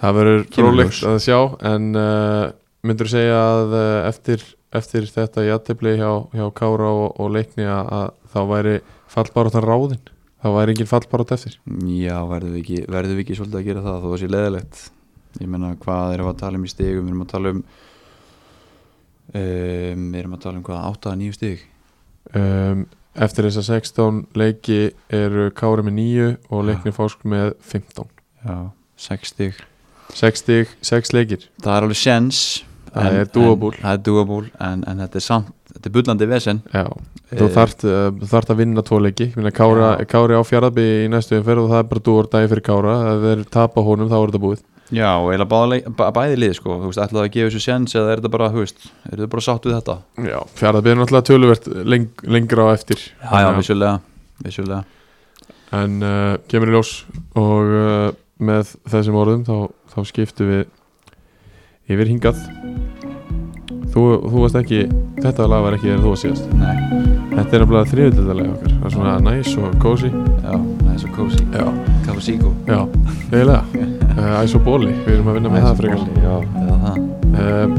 Speaker 1: það verður
Speaker 2: Kemur
Speaker 1: frólíkt
Speaker 2: ljós.
Speaker 1: að sjá en uh, myndur segja að uh, eftir, eftir þetta játefli hjá, hjá Kára og, og leikni að, að þá væri fallbáratan ráðin þá væri engin fallbárat eftir
Speaker 2: já, verðum við ekki, verðum við ekki svolítið að gera það þó það sé leðilegt ég meina hvað erum við að tala um í stigum við erum að tala um um, við erum að tala um hvað, átta að nýju stig
Speaker 1: um, eftir þessa 16 leiki eru Kára með 9 og leikni fásk með 15
Speaker 2: já, sex stig
Speaker 1: 6 stík, 6 leikir
Speaker 2: það er alveg sens
Speaker 1: Það
Speaker 2: en-
Speaker 1: er doable.
Speaker 2: en- það er doable, en, en þetta er samt þetta er bullandi vesen
Speaker 1: Já, þú
Speaker 2: Eh,
Speaker 1: þart, uh, þart að vinna tvo leiki Ég meina, Kára,
Speaker 2: Já.
Speaker 1: Kári á fjaraðby í næstu umferð og það er bara dúar dagi fyrir Kára ef þeir tapa honum þá er þetta búið
Speaker 2: já, og eiginlega báðleik- bæ- bæði lið sko, þú veist, ætlaðu að gefa þessu sens eða er þetta bara, þú veist, er þetta bara sátt við þetta
Speaker 1: Já, fjaraðby er náttúrulega töluvert leng, lengra á eftir
Speaker 2: já, já, vissulega, vissulega.
Speaker 1: En uh, kemur í ljós og uh, með þessum orðum þá, þá skiptum við yfir hingað Þú, þú varst ekki, þetta lag var ekki þegar þú var síðast
Speaker 2: nei,
Speaker 1: Þetta er nefnilega þriðutildalega okkar Það er svona næs og kósi
Speaker 2: já, það er svo kósi
Speaker 1: Já,
Speaker 2: kafasíko
Speaker 1: já, eiginlega uh, Æs og bóli, við erum að vinna með það frekar
Speaker 2: já, eða það
Speaker 1: Um,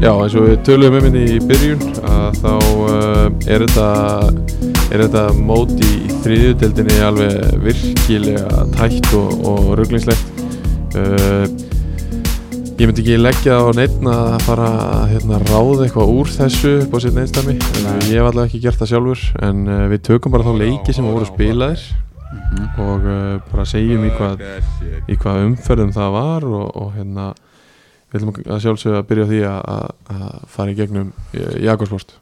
Speaker 1: já, eins og við töluðum um henni í byrjun að þá um, er þetta er þetta mót í, í þriðjudeldinni alveg virkilega tætt og, og rugglingslegt uh, ég myndi ekki leggja á neitt að fara að hérna, ráða eitthvað úr þessu upp á sitt neittstami ég hef allavega ekki gert það sjálfur en uh, við tökum bara þá leiki sem voru spilaðir
Speaker 2: Mhm.
Speaker 1: og uh, bara segjum í hvað í hvaða umferðum það var og, og hérna við ætlum að sjálfsögja að byrja á því að, að, að fara í gegnum Jakobsport,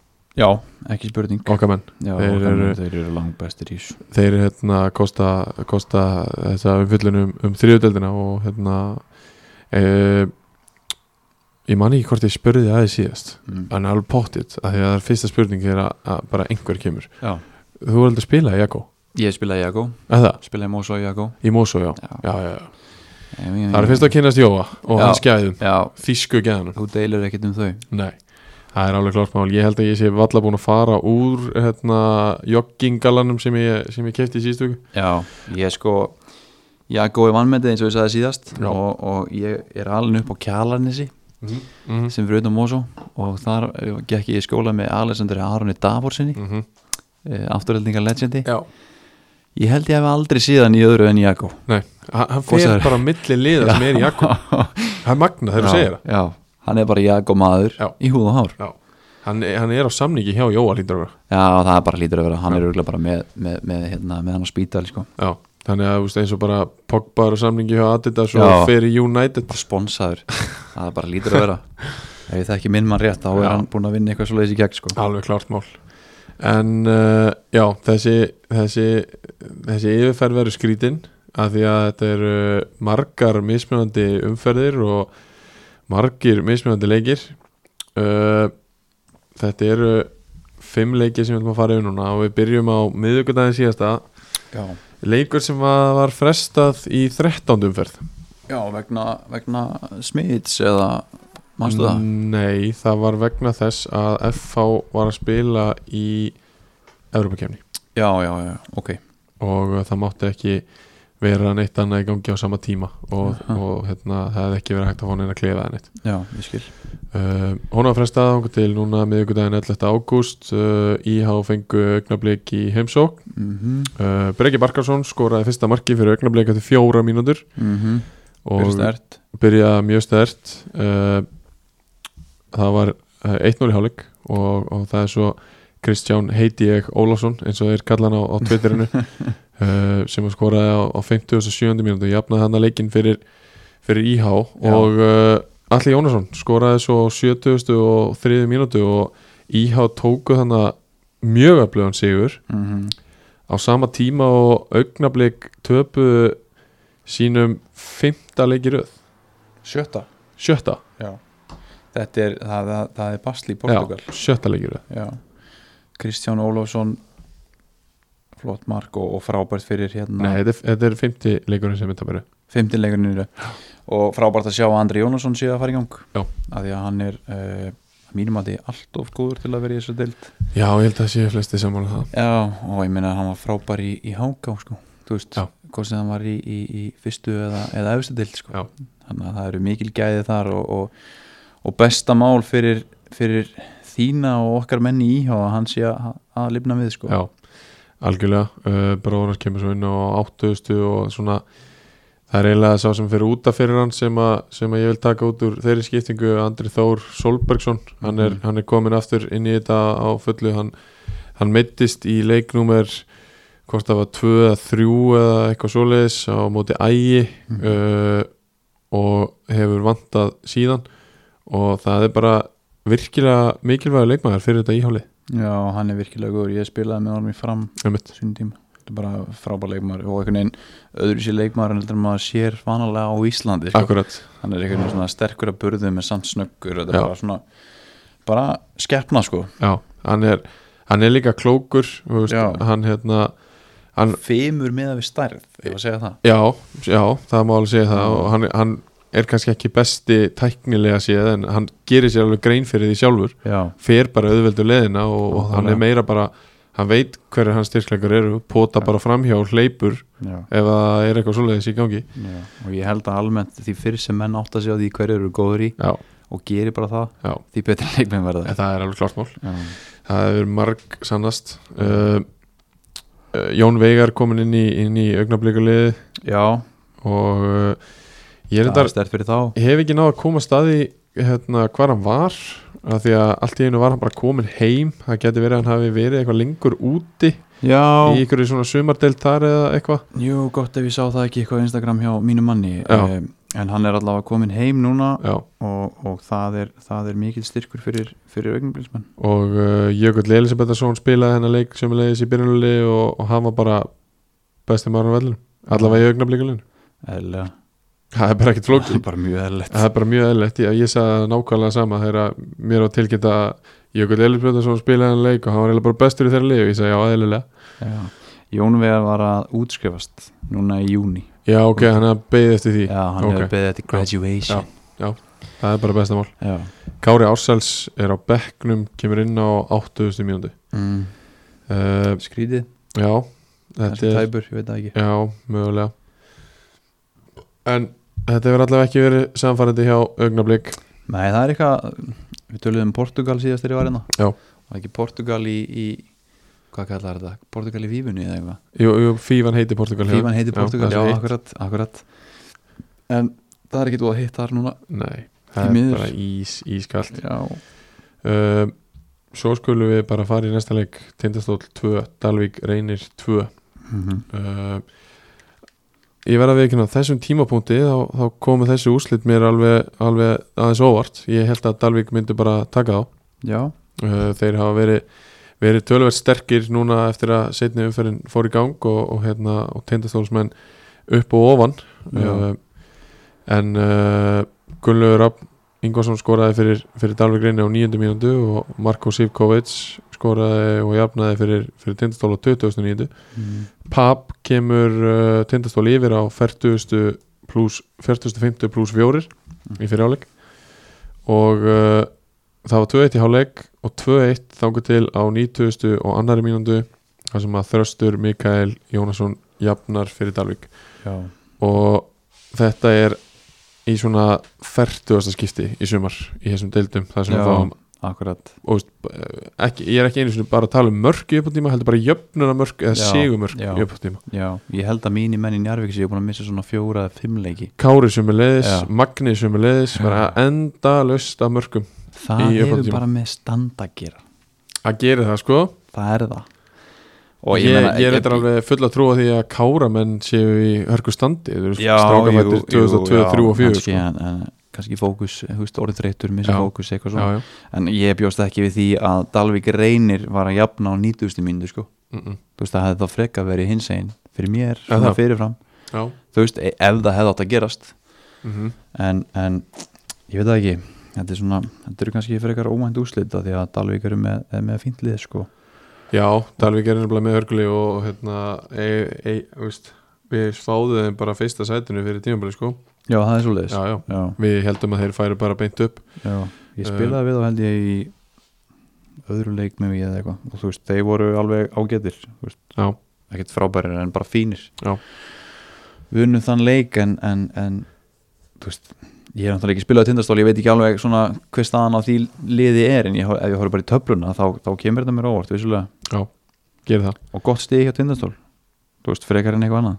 Speaker 2: já, ekki spurning
Speaker 1: okkar menn
Speaker 2: já,
Speaker 1: þeir
Speaker 2: þeir, eru,
Speaker 1: eru-
Speaker 2: þeir eru langbestir í þessu
Speaker 1: þeir hérna kosta, kosta þessa umfyllunum um þriðudeldina og hérna e, ég man ekki hvort ég spurði aðeins síðast
Speaker 2: mm.
Speaker 1: en alveg pottitt að því að það er fyrsta spurning þegar að, að bara einhver kemur
Speaker 2: já,
Speaker 1: þú er heldur að spila í Jakob,
Speaker 2: ég spilaði Jakó
Speaker 1: eða
Speaker 2: spilaði Mósó Jakó
Speaker 1: í Mosó já.
Speaker 2: Já.
Speaker 1: Já, já, já. það er
Speaker 2: það
Speaker 1: fyrst að kynast Jóa og
Speaker 2: Já.
Speaker 1: hans gæðum,
Speaker 2: já,
Speaker 1: þýsku gæðanum
Speaker 2: þú deilir ekkert um þau
Speaker 1: Nei, það er alveg klart mál Ég held að ég sé valla búin að fara úr hérna, joggingalanum sem ég, sem ég kefti í síðustu viku
Speaker 2: Já, ég sko ég góði vannmendið eins og ég sagði síðast
Speaker 1: Já.
Speaker 2: og, og ég er alveg upp á Kjalarnesi
Speaker 1: mm -hmm.
Speaker 2: sem fyrir utan Mosó og þar eh, gekk ég í skóla með Alessandri Aroni Davorsinni mm.
Speaker 1: Mm -hmm.
Speaker 2: afturheldingar legendi
Speaker 1: Já
Speaker 2: Ég held ég hef aldrei síðan í öðru en Jakko
Speaker 1: Nei, hann hann
Speaker 2: Hvað
Speaker 1: fer
Speaker 2: sagðirðu?
Speaker 1: bara á milli liða sem er í Jakko Það er magna þegar þú segir það
Speaker 2: Já, hann er bara Jakko maður
Speaker 1: Já.
Speaker 2: í húð og hár
Speaker 1: Já Hann, er- hann er á samningi hjá Jóa lítur að vera.
Speaker 2: Já, það er bara lítur að vera, hann er örgulega bara með, með, með, hérna, með hann á spítali sko
Speaker 1: Já, þannig að þú veist, eins og bara Pogba er á samningi hjá Adidas
Speaker 2: Já.
Speaker 1: og fer í United
Speaker 2: bara sponsaður, það er bara lítur að vera ef ég það ekki minn mann rétt þá er
Speaker 1: Já.
Speaker 2: hann búin að vinna eitthvað svo leiðis í gegn sko
Speaker 1: Alveg klart mál En uh, já, þessi, þessi, þessi yfirferð verður skrítin af því að þetta eru margar mismunandi umferðir og margir mismunandi leikir uh, Þetta eru fimm leikir sem við ætlum að fara yfir núna og við byrjum á miðvikudaginn síðasta
Speaker 2: Já.
Speaker 1: leikur sem að var frestað í 13. umferð
Speaker 2: Já, vegna, vegna smits eða mannstu það?
Speaker 1: Nei, það var vegna þess að FH var að spila í Evropakefni
Speaker 2: Já, já, já, ok
Speaker 1: og það mátti ekki vera neitt annað í gangi á sama tíma og,
Speaker 2: Aha.
Speaker 1: og hérna, það hefði ekki verið hægt að fá neina að klefa það neitt
Speaker 2: Já, ég skil
Speaker 1: uh, Hún var frestað ákvæm til núna miðvikudaginn 11. ágúst uh, IH fengu augnablik í heimsók
Speaker 2: mm -hmm.
Speaker 1: uh, Breki Barkarsson skoraði fyrsta marki fyrir augnablik eftir fjóra mínútur
Speaker 2: Mm -hmm.
Speaker 1: og byrjaði mjög stert uh, það var uh, 1-0 í hálfleik og, og það er svo Kristján heiti ég Ólafsson eins og þeir kalla hann á, á Twitterinu uh, sem að skoraði á, á 57. mínútu jafnaði hann að leikinn fyrir, fyrir IH
Speaker 2: Já.
Speaker 1: og uh, Alli Jónasson skoraði svo á 70. og 3. mínútu og IH tóku þannig mjög öflugan sigur
Speaker 2: mm -hmm.
Speaker 1: á sama tíma og augnablik töpu sínum fymta leikiröð
Speaker 2: Sjötta
Speaker 1: sjötta,
Speaker 2: Já Þetta er, það, það, það er Basli í
Speaker 1: já,
Speaker 2: Portugal
Speaker 1: sjötta leikiröð
Speaker 2: Já Kristján Ólafsson flott mark og, og frábært fyrir hérna
Speaker 1: Nei, þetta er, þetta er fymti leikurinn sem þetta verið
Speaker 2: 15 leikuninu og frábært að sjá að Andri Jónasson sé að fara í gang
Speaker 1: Já.
Speaker 2: að því að hann er uh, mínum að því allt of góður til að vera í þessu deild
Speaker 1: Já, ég held að séu flesti sammála um það
Speaker 2: Já, og ég meina að hann var frábær í, í háká sko, þú veist,
Speaker 1: Já.
Speaker 2: hvort sem hann var í, í, í fyrstu eða, eða efstu deild sko.
Speaker 1: Já.
Speaker 2: þannig að það eru mikil gæði þar og, og, og besta mál fyrir, fyrir þína og okkar menni íhá að hann sé að, að lifna við sko.
Speaker 1: Já, algjörlega uh, Bróðunar kemur svo inn á áttuðustu og svona það er eiginlega sá sem fyrir útaf fyrir hann sem, að, sem að ég vil taka út úr þeirri skiptingu Andri Þór Solbergsson hann er,
Speaker 2: Mhm.
Speaker 1: hann er komin aftur inn í þetta á fullu hann, hann meittist í leiknúmer hvort það var 2 eða 3 eða eitthvað svoleiðis á móti ægi
Speaker 2: Mhm.
Speaker 1: uh, og hefur vantað síðan og það er bara virkilega mikilvægur leikmaður fyrir þetta íháli
Speaker 2: Já, hann er virkilega góður, ég spilaði með honum í fram
Speaker 1: um mitt
Speaker 2: sínum tíma þetta er bara frábær leikmaður og einhvern veginn öðru sér leikmaður en heldur en maður sér vanalega á Íslandi sko.
Speaker 1: Akkurat
Speaker 2: hann er einhvern veginn svona sterkur að burðu með samt snöggur þetta
Speaker 1: Já.
Speaker 2: er bara svona bara skeppna sko
Speaker 1: Já, hann er, hann er líka klókur þú veist,
Speaker 2: Já.
Speaker 1: hann hérna hann,
Speaker 2: femur meða við stærð, ef að segja það
Speaker 1: já, já, það má alveg segja það og hann, hann er kannski ekki besti tæknilega séð en hann gerir sér alveg grein fyrir því sjálfur
Speaker 2: já,
Speaker 1: fer bara auðveldu leðina og, og hann er meira bara hann veit hverju hans styrkleikar eru pota bara framhjá, hleypur
Speaker 2: já,
Speaker 1: ef það er eitthvað svoleiðis í gangi
Speaker 2: já og ég held að almennt því fyrir sem menn átt að segja því hverju eru góður í
Speaker 1: Já,
Speaker 2: og gerir bara það,
Speaker 1: já,
Speaker 2: því betra leikmenn verða
Speaker 1: en það er alveg klart mál
Speaker 2: já,
Speaker 1: Það hefur marg sannast uh, uh, Jón Veigar komin inn í, inn í augnablikulið
Speaker 2: já
Speaker 1: og uh, ég
Speaker 2: það er
Speaker 1: reyndar,
Speaker 2: stærð fyrir þá
Speaker 1: hef ekki náð að koma staði hérna hvar hann var af því að allt í einu var hann bara komin heim það geti verið að hann hafi verið eitthvað lengur úti í
Speaker 2: já,
Speaker 1: einhverju svona sumardelt þar eða eitthvað
Speaker 2: jú, gott ef ég sá það ekki eitthvað á Instagram hjá mínu manni
Speaker 1: Já.
Speaker 2: Eh, en hann er allavega komin heim núna
Speaker 1: Já.
Speaker 2: og, og það, er, það er mikil styrkur fyrir, fyrir augnumblinsmenn
Speaker 1: og uh, Jökull Elisabethason spilaði hennar leik sem leiðis í byrjunulegi og, og hann var bara besti maður á vellinu allavega í augnablikulinu
Speaker 2: eðlilega,
Speaker 1: það er bara ekkert flókið
Speaker 2: bara mjög eðlilegt
Speaker 1: Það er bara mjög eðlilegt, ég, ég sagði það nákvæmlega sama þegar að mér á tilkynnt að Jökull Elisabethason spilaði hennar leik og hann var eiginlega bara bestur í þeirra leik og ég sagði já, eðlilega
Speaker 2: Jón Vegar var að útskrifast núna í júni
Speaker 1: Já, ok, hann er beðið eftir því
Speaker 2: já, hann
Speaker 1: ok.
Speaker 2: hefur beðið eftir graduation
Speaker 1: Það er bara besta mál
Speaker 2: já.
Speaker 1: Kári Ársæls er á bekknum kemur inn á 80. mínúti
Speaker 2: Mm.
Speaker 1: uh,
Speaker 2: skrítið,
Speaker 1: Já,
Speaker 2: þessi
Speaker 1: þetta er
Speaker 2: tæpur, ég veit það ekki
Speaker 1: Já, mögulega En þetta hefur allavega ekki verið samfærandi hjá augnablík
Speaker 2: nei, það er eitthvað, við töluðum um Portugal síðast þegar ég var hérna
Speaker 1: Já.
Speaker 2: var ekki Portugal í, í hvað kallar þetta, Portugal í Fífunni eða eitthvað
Speaker 1: Jú, jú, Fífan heiti Portugal hjá-
Speaker 2: Fífan heitir Portugal,
Speaker 1: það
Speaker 2: já,
Speaker 1: er heitt.
Speaker 2: akkurat, akkurat en það er ekki þú að hitta þar núna
Speaker 1: Nei,
Speaker 2: Því
Speaker 1: það er
Speaker 2: miður.
Speaker 1: bara ís, ískalt
Speaker 2: já,
Speaker 1: uh, Svo skulum við bara fara í næsta leik Tindastóll 2, Dalvík Reynir 2
Speaker 2: Mhm.
Speaker 1: uh, ég verða við ekki ná þessum tímapunkti þá, þá komu þessi úrslit mér alveg, alveg aðeins óvart ég held að Dalvik myndi bara taka þá
Speaker 2: já,
Speaker 1: uh, þeir hafa verið verið tölverð sterkir núna eftir að setni umferðin fór í gang og, og, hérna, og tindastólsmenn upp og ofan uh,
Speaker 2: Já.
Speaker 1: en uh, Gunnlaugur Rapp Ingvarsson skoraði fyrir, fyrir Dalvik Reyni á 9. mínútu og Marko Sivkovic skoraði og jafnaði fyrir, fyrir tindastól á 20. mínútu
Speaker 2: mm.
Speaker 1: Pab kemur uh, tindastól yfir á 40. pluss 40. pluss 4 í
Speaker 2: Mhm.
Speaker 1: fyrirháleik og uh, það var 2-1 í háleik og 2-1 þangur til á 90. og annari mínundu þar sem að Þröstur Mikael Jónasson jafnar fyrir Dalvik
Speaker 2: já,
Speaker 1: og þetta er í svona 40. skipti í sumar í þessum deildum þar sem
Speaker 2: Já.
Speaker 1: við fáum
Speaker 2: akkurat
Speaker 1: og, veist, b- ekki, ég er ekki einu sinni bara að tala um mörg í uppáttíma, heldur bara jöfnuna mörg eða
Speaker 2: Já,
Speaker 1: sigumörg
Speaker 2: já.
Speaker 1: í uppáttíma
Speaker 2: Já, ég held að mínir menn í Njarvík séu búin að missa svona fjóra eða fimm leiki
Speaker 1: Kári sem er leiðis,
Speaker 2: Já.
Speaker 1: Magni sem er leiðis bara enda laust af mörgum
Speaker 2: Það
Speaker 1: Í
Speaker 2: hefur
Speaker 1: uppáhaldstíma.
Speaker 2: bara með stand að gera
Speaker 1: að gera það sko
Speaker 2: Það er það
Speaker 1: og ég, ég, er eitthvað alveg full að trúa því að Káramenn séu í hörku standi þeir eru
Speaker 2: Já,
Speaker 1: strákafættir
Speaker 2: jú, jú,
Speaker 1: 2002,
Speaker 2: já,
Speaker 1: 3 og 4
Speaker 2: kannski,
Speaker 1: sko.
Speaker 2: en, en, kannski fókus, þú veist, orðið þreytur missa
Speaker 1: Já.
Speaker 2: fókus, eitthvað svona
Speaker 1: já, já.
Speaker 2: en ég bjóst ekki við því að Dalvik Reynir var að jafna á 90. mínútu sko.
Speaker 1: Mm -mm.
Speaker 2: þú veist, það hefði þá frekar verið hins einn fyrir mér,
Speaker 1: Já,
Speaker 2: svona
Speaker 1: það.
Speaker 2: fyrirfram
Speaker 1: já.
Speaker 2: þú veist, e- ef það hefði átt að gerast
Speaker 1: Mm
Speaker 2: en, en ég veit það ekki þetta er svona, þetta eru kannski frekar ómænt úslit af því að Dalvik eru með, er með fínt lið sko.
Speaker 1: já Dalvík er nefnilega með hörgli og hérna e, e, veist, við spáðum þeim bara fyrsta sætinu fyrir tímabili sko
Speaker 2: já, það er svo leiðis já.
Speaker 1: já, já.
Speaker 2: Já,
Speaker 1: við heldum að þeir færu bara beint upp
Speaker 2: ég spilaði við þá held ég í öðru leik með mig eða eitthvað og þú veist, þeir voru alveg ágætir þú veist,
Speaker 1: já,
Speaker 2: ekkert frábærir en bara fínir
Speaker 1: Já.
Speaker 2: við unnum þann leik en, en, en þú veist ég er náttúrulega ekki spilað á tindastól, ég veit ekki alveg svona hver staðan á því liði er en ég, hor- ef ég horf bara í töfluna þá, þá kemur þetta mér á óvart vissulega
Speaker 1: gerir það
Speaker 2: og gott stig hjá tindastól þú veist, frekar en eitthvað annað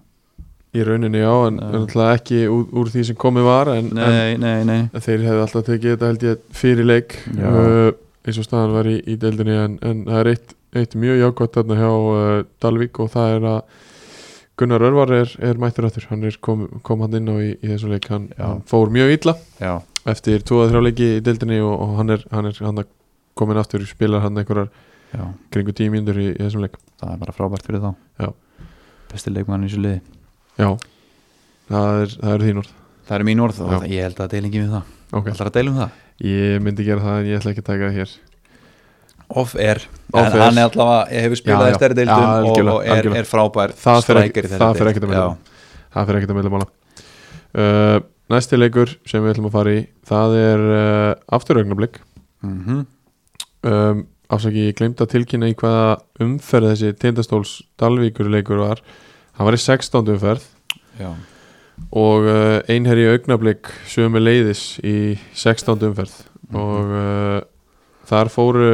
Speaker 1: í rauninni já, en
Speaker 2: Já.
Speaker 1: náttúrulega ekki úr, úr því sem komið var en, en
Speaker 2: nei, nei, nei,
Speaker 1: þeir hefðu alltaf tekið þetta held ég fyrir leik
Speaker 2: Já.
Speaker 1: uh, eins og staðan var í, í deildinni en, en það er eitt, eitt mjög jákvæmt þarna hjá uh, Dalvík og það er að Gunnar Örvar er, er mættur aftur, hann er kom, kom hann inn á í, í þessu leik, hann,
Speaker 2: Já.
Speaker 1: hann fór mjög illa
Speaker 2: já,
Speaker 1: eftir 2-3 leiki í deildinni og, og hann er, hann er hann komin aftur, spilar hann einhverjar
Speaker 2: já,
Speaker 1: kringu 10 mínútur í, í þessum leik
Speaker 2: það er bara frábært fyrir þá
Speaker 1: Já.
Speaker 2: besti leikmann í þessu liði
Speaker 1: já, það er, það er þín orð
Speaker 2: það eru mín orð og
Speaker 1: Já.
Speaker 2: það- ég held að deilingi við það
Speaker 1: okay.
Speaker 2: ætlar að deilum það
Speaker 1: Ég myndi gera það en ég ætla ekki að taka það hér
Speaker 2: off air,
Speaker 1: Off
Speaker 2: en
Speaker 1: air.
Speaker 2: hann er allavega hefur
Speaker 1: Já,
Speaker 2: spilað
Speaker 1: já.
Speaker 2: í stærri deildum
Speaker 1: Já,
Speaker 2: og,
Speaker 1: algjörlega,
Speaker 2: og er,
Speaker 1: algjörlega.
Speaker 2: er frábær
Speaker 1: Það fer
Speaker 2: striker
Speaker 1: ekki-
Speaker 2: í þessari
Speaker 1: það fer
Speaker 2: deild.
Speaker 1: ekkert á milli.
Speaker 2: Já.
Speaker 1: Það fyrir ekkert að meðlega mála uh, Næsti leikur sem við ætlum að fara í Það er uh, afturögnablik
Speaker 2: Mhm.
Speaker 1: um, Afsaki, ég glemt að tilkynna í hvaða umferð þessi tindastóls Dalvíkur leikur var Hann var í 16. umferð
Speaker 2: Já.
Speaker 1: og uh, einherji augnablík sömu leiðis í 16. umferð
Speaker 2: Mhm.
Speaker 1: og uh, þar fóru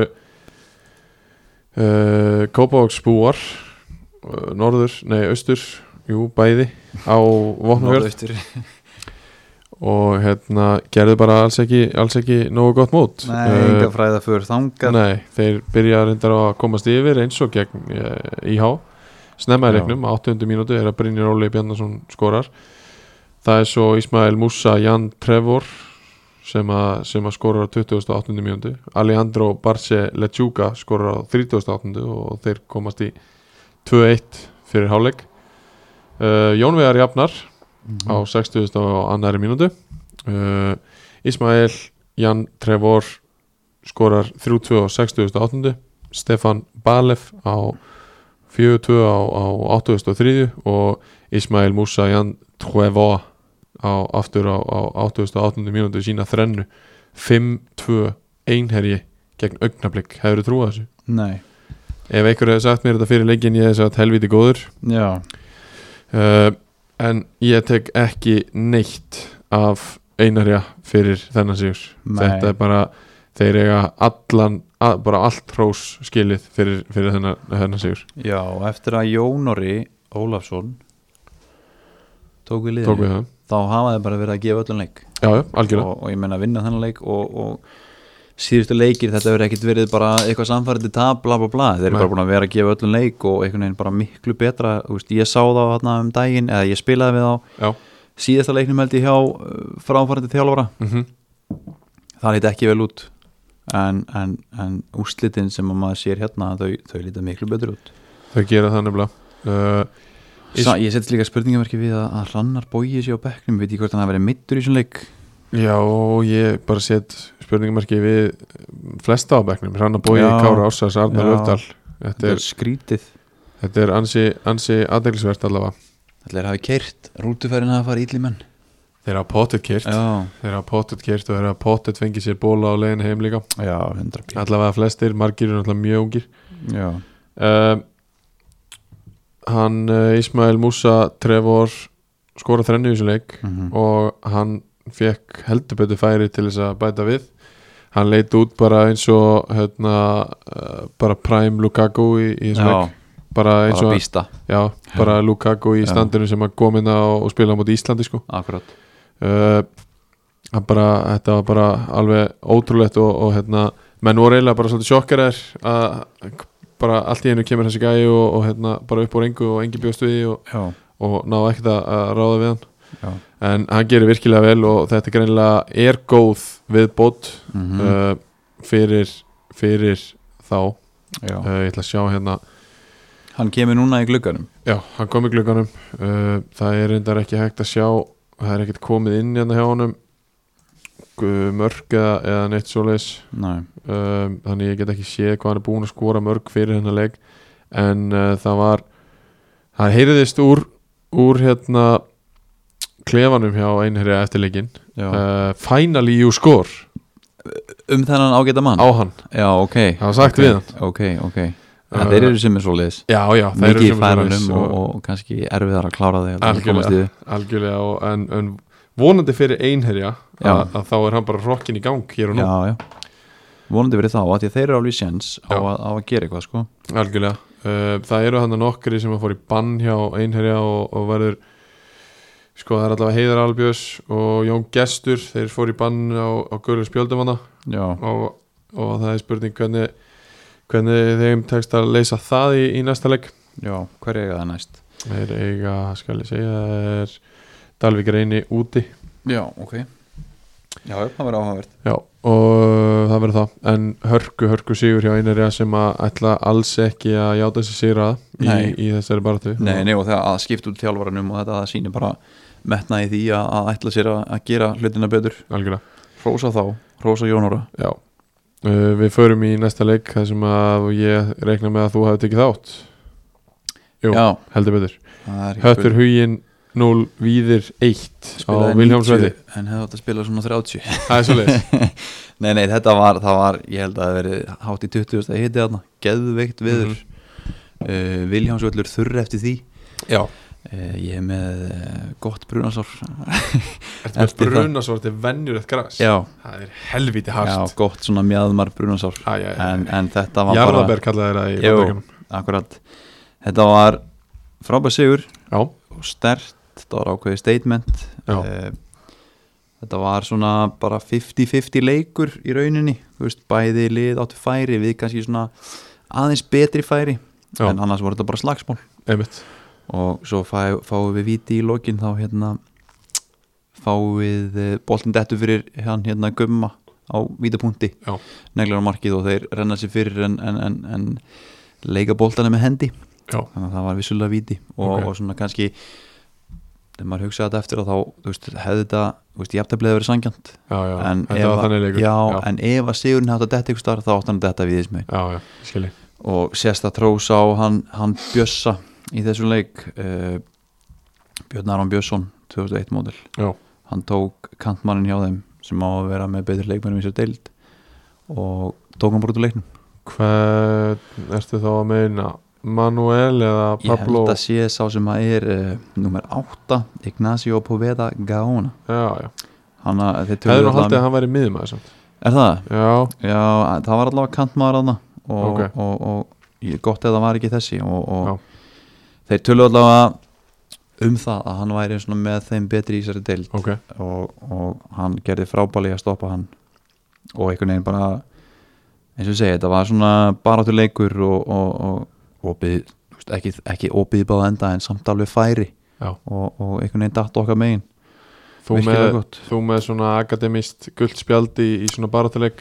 Speaker 1: uh, Kópavogsbúar uh, norður, nei austur jú, bæði á Vopnafjörð
Speaker 2: Norðaustur.
Speaker 1: og hérna gerðu bara alls ekki, alls ekki nógu gott mót
Speaker 2: Nei,
Speaker 1: Uh,
Speaker 2: enga fræða fyrir þangar
Speaker 1: Nei, þeir byrja reyndar að komast yfir eins og gegn e, IH snemma í
Speaker 2: Já.
Speaker 1: leiknum, 800 mínútu er að Brynjar Óli Bjarnason skorar það er svo Ismael Musa Jan Trevor sem að, sem að skorar á 28. mínútu Alejandro Barce Lechuga skorar á 38. og þeir komast í 2-1 fyrir hálfleik uh, Jón Vegar Jafnar á 60. og annari mínútu uh, Ismael Jan Trevor skorar 3-2 á 68. Stefan Balef á 4-2 á, á 83. og Ismael Musa Jan Trevor á aftur á, á 88. mínútu sína þrennu 5-2 einherji gegn augnablik, hefur þú trúið þessu?
Speaker 2: Nei,
Speaker 1: Ef einhver hefði sagt mér þetta fyrir leikin ég hefði sagt helviti góður
Speaker 2: já,
Speaker 1: uh, en ég tek ekki neitt af einarja fyrir þennan sigur
Speaker 2: Nei.
Speaker 1: þetta er bara þeir eiga allan, að, bara allt hrós skilið fyrir, fyrir þennan, þennan sigur
Speaker 2: já, og eftir að Jónori Ólafsson tók við
Speaker 1: tók
Speaker 2: liðinu
Speaker 1: við það,
Speaker 2: þá hafa þið bara verið að gefa öllum leik
Speaker 1: já, já, algjörlega
Speaker 2: og, og ég menna að vinna þennan leik og, og síðustu leikir þetta verið ekkit verið bara eitthvað samfærandi tab, bla bla bla þeir eru
Speaker 1: Nei.
Speaker 2: bara búin að vera að gefa öllum leik og einhvern veginn bara miklu betra þú veist, ég sá þá þarna um daginn eða ég spilaði við þá
Speaker 1: já,
Speaker 2: síðasta leiknum held ég hjá uh, fráfærandi þjálfara
Speaker 1: mm
Speaker 2: það lítið ekki vel út en, en, en úslitin sem að maður sér hérna þau, þau lítið miklu betur út
Speaker 1: þau gera það nefnilega uh, Is-
Speaker 2: Sa, ég setst líka spurningamarki við að, að Hrannar bóið sér á bekknum, veit ég hvort hann hafi verið mittur í svona leik
Speaker 1: já, og ég bara set spurningumarki við flesta á bekknum, Ranna Bói,
Speaker 2: Já.
Speaker 1: Kára Ássas Arnar
Speaker 2: Já.
Speaker 1: Löfdal þetta
Speaker 2: þetta
Speaker 1: er,
Speaker 2: er skrítið
Speaker 1: þetta er ansi, ansi aðdeglisvert allavega
Speaker 2: allir hafi keirt, rútufærin hafi farið illi menn
Speaker 1: þeir hafa pottet kert
Speaker 2: já,
Speaker 1: þeir hafa pottet kert og þeir hafa pottet fengið sér bóla á leiðin heim líka
Speaker 2: já, hundra pí
Speaker 1: allavega flestir, margir eru náttúrulega mjög ungir
Speaker 2: já,
Speaker 1: uh, hann uh, Ismail Musa Trevor skora þrennu í þessu leik
Speaker 2: mhm.
Speaker 1: Mm. og hann fekk heldur betur færi til þess að bæta við hann leit út bara eins og hérna, uh, bara Prime Lukaku í, í þessum
Speaker 2: já
Speaker 1: leik bara eins
Speaker 2: bara
Speaker 1: og,
Speaker 2: býsta,
Speaker 1: já, bara Lukaku í
Speaker 2: Já.
Speaker 1: standinu sem að kom inn á og spila á móti Íslandi sko
Speaker 2: akkurat
Speaker 1: uh, hann bara, þetta var bara alveg ótrúlegt og, og hérna, menn voru eiginlega bara svolítið sjokkar er að bara allt í einu kemur þessi gæi og, og hérna, bara upp úr engu og engi bjóst við því og,
Speaker 2: já,
Speaker 1: og ná ekkert að, að ráða við hann
Speaker 2: Já.
Speaker 1: en hann gerir virkilega vel og þetta greinilega er góð viðbót
Speaker 2: Mm
Speaker 1: uh, fyrir, fyrir þá uh,
Speaker 2: já.
Speaker 1: ég ætla að sjá hérna
Speaker 2: Hann kemur núna í glugganum
Speaker 1: já, hann kom í glugganum uh, það er reyndar ekki hægt að sjá það er ekkert komið inn hérna hjá honum gu- mörk eða, eða neitt svoleiðis
Speaker 2: Nei.
Speaker 1: um, þannig ég get ekki séð hvað hann er búin að skora mörg fyrir hennar leik en uh, það var það heyriðist úr, úr hérna klefanum hjá einherja eftirleikin
Speaker 2: Já.
Speaker 1: uh, finally you score
Speaker 2: Um þennan ágæta mann
Speaker 1: á hann,
Speaker 2: Já, ok
Speaker 1: það var sagt við hann
Speaker 2: Ok, ok uh, Þeir eru sem er svo liðs
Speaker 1: já, já, það eru
Speaker 2: Mikið í
Speaker 1: sem
Speaker 2: færanum
Speaker 1: svoleiðis
Speaker 2: og, og, kannski erfiðar að klára þig að
Speaker 1: Algjörlega.
Speaker 2: komast í þig.
Speaker 1: algjörlega og, en, en vonandi fyrir einherja
Speaker 2: Já.
Speaker 1: að, að þá er hann bara rokkin í gang hér og nú,
Speaker 2: Já, já Vonandi verið þá að því að þeir eru alveg séns á,
Speaker 1: Já.
Speaker 2: að- á að gera eitthvað sko
Speaker 1: algjörlega uh, það eru hann nokkri sem að fór í bann hjá einherja og, og verður sko það er allavega Heiðar Albjörs og Jón Gestur, þeir fór í bann á, á Guðlu spjöldum hana
Speaker 2: Já,
Speaker 1: og, og það er spurning hvernig hvernig þeim tekst að leysa það í, í næsta leik
Speaker 2: já, hver er það næst?
Speaker 1: þeir eiga, skal ég segja það er Dalvik reyni úti
Speaker 2: Já, ok Já, það verið áhugavert
Speaker 1: Já, og það verður það en hörku, hörku sigur hjá einherja sem að ætla alls ekki að játa þessi sigraða í,
Speaker 2: Nei.
Speaker 1: í þessari baratu
Speaker 2: Nei, nei, og það að skipta út þjálfaranum og þetta það sýnir bara metnaði því að, að ætla sér að, að gera hlutina betur
Speaker 1: algjörlega
Speaker 2: Rósa þá, Rósa Jónóra
Speaker 1: Já uh, Við förum í næsta leik þar sem að ég reikna með að þú hafi tekið þátt Jú,
Speaker 2: Já,
Speaker 1: heldur betur
Speaker 2: það er ekki
Speaker 1: Höttur
Speaker 2: spurning.
Speaker 1: Hugin 0 Víðir 1 á
Speaker 2: Spilaði 90,
Speaker 1: Vilhjámsvelli
Speaker 2: En hefði átt að spila svona 30
Speaker 1: Það er svolítið
Speaker 2: Nei, nei, þetta var, það var, ég held að það verið hátt í 20. hiti þarna, geðveikt viður mm
Speaker 1: Mhm.
Speaker 2: Viljámsvöllur þurr eftir því
Speaker 1: Já
Speaker 2: uh, Ég er með uh, gott brunasár
Speaker 1: Ertu með
Speaker 2: Eftir það.
Speaker 1: brunasvort er venjulegt græs
Speaker 2: Já,
Speaker 1: Það er helviti
Speaker 2: já,
Speaker 1: hart
Speaker 2: gott svona mjadmar brunasár
Speaker 1: Æ, æ, æ.
Speaker 2: en, en þetta var bara,
Speaker 1: Jarðaber kallaði þeirra í
Speaker 2: Jú.
Speaker 1: bandaríkjum
Speaker 2: akkurat Þetta var frábær sigur
Speaker 1: Já,
Speaker 2: og stert, þetta var ákveðið statement
Speaker 1: Já.
Speaker 2: Eh, Þetta var svona bara 50-50 leikur í rauninni, þú veist, bæði lið áttu færi við kannski svona aðeins betri færi,
Speaker 1: Já.
Speaker 2: en annars voru þetta bara slagsmál
Speaker 1: einmitt
Speaker 2: og svo fá, fáum við viti í lokin þá hérna fáum við eh, boltinn dettu fyrir hann hérna gumma á vítapunkti
Speaker 1: Já.
Speaker 2: neglar á markið og þeir renna sér fyrir en, en, en, en leika boltana með hendi
Speaker 1: Já,
Speaker 2: þannig að það var vissulega viti og,
Speaker 1: Ok.
Speaker 2: og svona kannski þegar maður hugsaði þetta eftir að þá þú veist, hefði þetta, þú veist, jafnteflið verið sangjant
Speaker 1: já, já
Speaker 2: en,
Speaker 1: Þetta
Speaker 2: ef
Speaker 1: var
Speaker 2: að-
Speaker 1: þannig leikur
Speaker 2: já,
Speaker 1: já,
Speaker 2: en ef að Sigurinn hætti að detta ykkur starf þá átti hann að detta við þessum
Speaker 1: já, já skilji
Speaker 2: og sérst að trósa á hann, hann Bjössa í þessum leik uh, Björn Aron Björnsson 2001 módel
Speaker 1: Já.
Speaker 2: hann tók kantmannin hjá þeim sem á að vera með betur leikmennum í sér deild og tók hann bara út úr leiknum
Speaker 1: Hvern ertu þá að meina? Manuel eða
Speaker 2: ég
Speaker 1: Pablo?
Speaker 2: held að sé sá sem að er uh, nummer 8, Ignacio Poveda Gaona
Speaker 1: Já, já
Speaker 2: hann að þeir
Speaker 1: Hefur
Speaker 2: töluðu
Speaker 1: nú haldið að
Speaker 2: um-
Speaker 1: hann væri miðmaður samt
Speaker 2: er það?
Speaker 1: Já,
Speaker 2: Já, það var allavega kantmaður hann og,
Speaker 1: Ok.
Speaker 2: og, og, og gott eða það var ekki þessi og,
Speaker 1: Já.
Speaker 2: og þeir tölu allavega um það að hann væri svona með þeim betri í sér deild
Speaker 1: ok
Speaker 2: og, og hann gerði frábæli að stoppa hann og einhvern veginn bara eins og ég segi, þetta var svona baráttu leikur og, og, og opið, þú veist, ekki, ekki opið báða enda en samt alveg færi
Speaker 1: Já.
Speaker 2: og, og einhvern veginn datt okkar megin
Speaker 1: Þú með,
Speaker 2: Virkilega gott.
Speaker 1: þú með svona akademist gullt spjald í, í svona baratuleik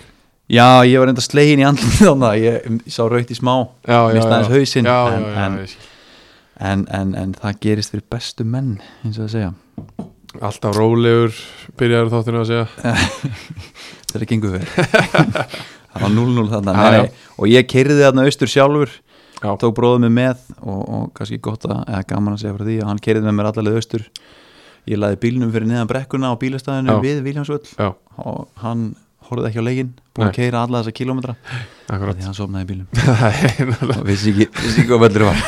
Speaker 2: Já, ég var reynda slegin í andlið þannig að ég, ég sá raukt í smá
Speaker 1: Já, já,
Speaker 2: Mist
Speaker 1: já.
Speaker 2: aðeins hausinn,
Speaker 1: Já, já,
Speaker 2: en-
Speaker 1: já,
Speaker 2: en-
Speaker 1: ég skil.
Speaker 2: en, en, en það gerist fyrir bestu menn eins og það segja
Speaker 1: Alltaf rólegur byrjaður þáttinu að segja
Speaker 2: þegar það gengur fyrir það var 0-0 þarna
Speaker 1: Já, já.
Speaker 2: nei, nei. og ég keiriði þarna austur sjálfur
Speaker 1: Já.
Speaker 2: tók bróðum mig með og, og kannski gott að, eða gaman að segja frá því að hann keiriði með mér allalega austur ég laði bílnum fyrir neðan brekkuna á bílastæðinu
Speaker 1: Já.
Speaker 2: við Viljámsvöll
Speaker 1: Já.
Speaker 2: og hann horfði ekki á leikinn búin
Speaker 1: Nei.
Speaker 2: að keira alla þessa kílómetra af
Speaker 1: Akkurat
Speaker 2: því hann sofnaði í bílnum
Speaker 1: Það
Speaker 2: og vissi ekki, vissi ekki hvað völlur var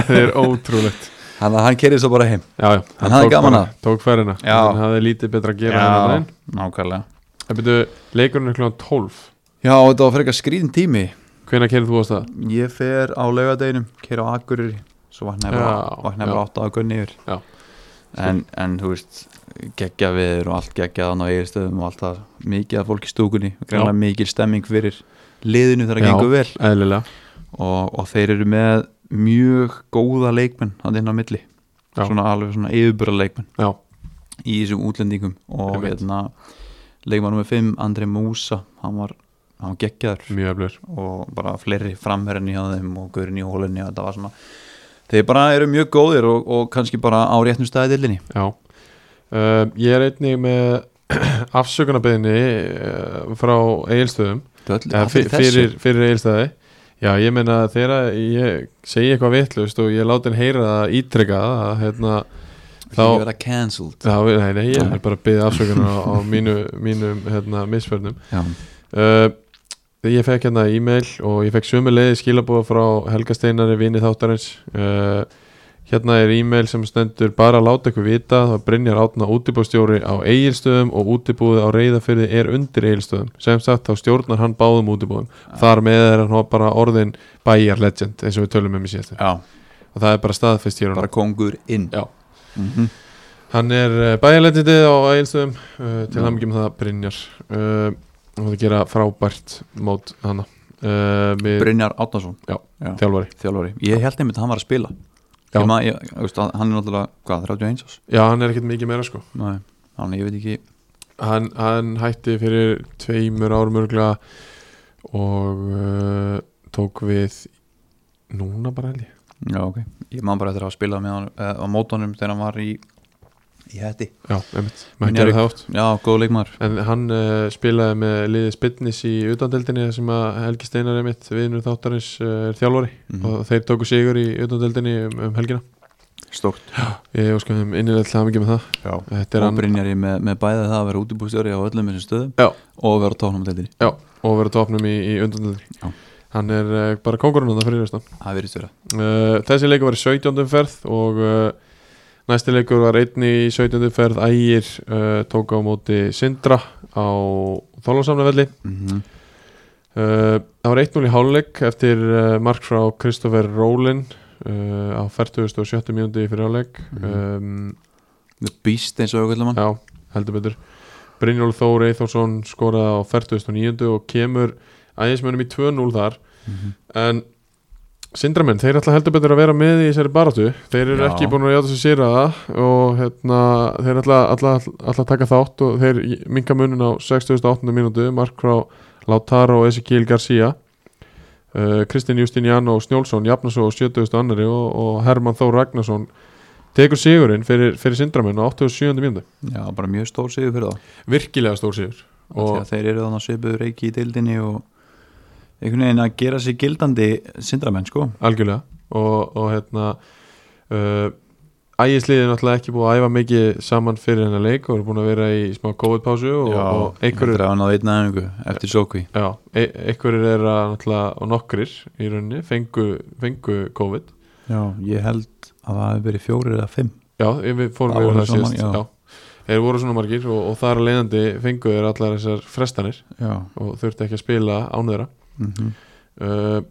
Speaker 1: er ótrúlegt
Speaker 2: hann, hann keiriði svo bara heim
Speaker 1: Já, já,
Speaker 2: Hann hafði
Speaker 1: tók
Speaker 2: gaman
Speaker 1: bara-
Speaker 2: að.
Speaker 1: Tók færina,
Speaker 2: Já.
Speaker 1: hann hafði lítið betra að gera en hann
Speaker 2: nákvæmlega
Speaker 1: Það byrju, leikurinn er kl. 12
Speaker 2: Já, þetta var frekar skrítin tími
Speaker 1: Hvenær kerið þú á stað?
Speaker 2: Ég fer á laugadeginum, keir á Akureyri Svo vaknaði bara,
Speaker 1: Já,
Speaker 2: vaknaði
Speaker 1: já.
Speaker 2: bara átta að gunni yfir
Speaker 1: Já.
Speaker 2: en, en þú veist, geggja viður og allt geggjað hann á eiginstöðum og allt það Mikið af fólki í stúkunni, greinlega mikil stemming fyrir liðinu þegar
Speaker 1: Já.
Speaker 2: það gengur vel
Speaker 1: Eðlilega
Speaker 2: og, og þeir eru með mjög góða leikmenn hann inn á milli
Speaker 1: Já.
Speaker 2: Svona alveg svona yfirbúra leikmenn
Speaker 1: Já.
Speaker 2: í þessum útlendingum og
Speaker 1: Einmitt.
Speaker 2: hérna leikmann nummer 5, Andri Músa hann var, hann var geggjaður
Speaker 1: mjög öflur
Speaker 2: og bara fleiri framherrin í að þeim og gaurin í hólunni og þetta var svona þeir bara eru mjög góðir og, og kannski bara á réttnum staði dillinni
Speaker 1: Já, uh, ég er einnig með afsökunarbeðinni uh, frá Egilstöðum eða fyr- fyrir, fyrir Egilstöði Já, ég meina þegar ég segi eitthvað vittlust og ég láti hann heyra það ítreka það, hérna,
Speaker 2: þá
Speaker 1: þá-
Speaker 2: verða cancelled
Speaker 1: þá, nei, nei, ég
Speaker 2: Nei.
Speaker 1: er bara að beða afsökunar á, á mínu, mínum hérna, misförnum
Speaker 2: já,
Speaker 1: uh, Ég fekk hérna e-mail og ég fekk sömuleiði skilabóða frá Helga Steinari vini þáttarins uh, Hérna er e-mail sem stendur bara að láta ykkur vita þá Brynjar Átna útibústjóri á eigilstöðum og útibúið á reyðafyrði er undir eigilstöðum sem sagt þá stjórnar hann báðum útibúðum þar með er hann bara orðin bæjar legend eins og við tölum um í síðastu
Speaker 2: já,
Speaker 1: og það er bara staðfest hér og nú.
Speaker 2: bara kongur inn
Speaker 1: Já.
Speaker 2: Mhm.
Speaker 1: Hann er bæjarlenditið á Egilstöðum uh, til hann ekki með það Brynjar uh, og það gera frábært mót hana uh, með
Speaker 2: Brynjar Átnason,
Speaker 1: þjálfari
Speaker 2: þjálfari ég held einmitt að hann var að spila
Speaker 1: Já.
Speaker 2: ég maður, ég, ég, veist, að- hann er náttúrulega, hvað, 31 ás
Speaker 1: Já, hann er ekkert mikið meira sko
Speaker 2: Nei, þannig ég veit ekki
Speaker 1: Hann, hann hætti fyrir tveimur árum örgla og uh, tók við núna bara held ég
Speaker 2: Já, ok Ég man bara eftir að hafa spilað með hann uh, á mótunum þegar hann var í í hætti
Speaker 1: Já, einmitt,
Speaker 2: Minn
Speaker 1: maður gerði
Speaker 2: Erik.
Speaker 1: það oft
Speaker 2: Já, góð leikmaður
Speaker 1: En hann uh, spilaði með liðið Spinnis í utandeldinni þar sem að Helgi Steinar er mitt viðnur þáttarins uh, er þjálfari
Speaker 2: Mhm.
Speaker 1: og þeir tóku sigur í utandeldinni um, um helgina
Speaker 2: Stort
Speaker 1: Ég óska þeim innilega til hamingi með það
Speaker 2: Já
Speaker 1: Þetta er
Speaker 2: Og
Speaker 1: hann
Speaker 2: Brynjar ég með, með bæði það að vera útibústjóri á öllum þessum stöðum
Speaker 1: Já.
Speaker 2: og vera á tóknum deildinni
Speaker 1: Já, og verið tópnum í, í undanlega
Speaker 2: Já.
Speaker 1: Hann er uh, bara kongurinn hann fyrir þessan
Speaker 2: Það verið störa
Speaker 1: uh, Þessi leikur var í 17. ferð og uh, næsti leikur var einni í 17. ferð Ægir uh, tók á móti Sindra á Þólasamlefelli
Speaker 2: mm -hmm.
Speaker 1: Uh, Það var 1-0 í háluleik eftir uh, mark frá Kristoffer Rólin uh, á 47. mínúti fyrir háluleik um,
Speaker 2: The Beast eins og auðvitað mann
Speaker 1: Eh, Já, heldur betur Brynjólf Þór Eithorsson skoraði á 49. og kemur ægismönnum í 2-0 þar
Speaker 2: Mhm.
Speaker 1: en Sindramenn, þeir ætla heldur betur að vera með í þessari baratu þeir eru
Speaker 2: Já.
Speaker 1: ekki búin að játa sér sýra það og hérna, þeir ætla, ætla, ætla að taka þátt og þeir minka munin á 68. mínútu mark frá Lautaro og Ezekiel Garcia uh, Kristinn Justiniano Snjólfsson jafna svo á 70. annari og, og Herman Þór Ragnarsson tekur sigurinn fyrir, fyrir Sindramenn á 87. mínútu
Speaker 2: Já, bara mjög stór sigur fyrir það
Speaker 1: virkilega stór sigur
Speaker 2: og
Speaker 1: og
Speaker 2: þeir eru þannig að svipuðu reiki í deildinni og einhvern veginn að gera sig gildandi sindramenn sko
Speaker 1: algjörlega og, og hérna uh, ægisliðið er náttúrulega ekki búið að æfa mikið saman fyrir hennar leik og eru búin að vera í smá COVID-pásu og, og einhverjur
Speaker 2: Eftir að hann að veitna einhverju eftir sókví
Speaker 1: já, e einhverjir er að náttúrulega og nokkrir í rauninni fengu, fengu COVID
Speaker 2: Já, ég held að það hefur verið fjórir eða fimm
Speaker 1: já, ég- við fórum
Speaker 2: Það
Speaker 1: yfir
Speaker 2: voru
Speaker 1: það
Speaker 2: svona
Speaker 1: síðast
Speaker 2: margir, já.
Speaker 1: já. þeir voru svona margir og, og þar að leiðandi fengu þeir allar þessar frestanir
Speaker 2: Já
Speaker 1: og þurfti ekki að spila án þeirra
Speaker 2: mm
Speaker 1: uh,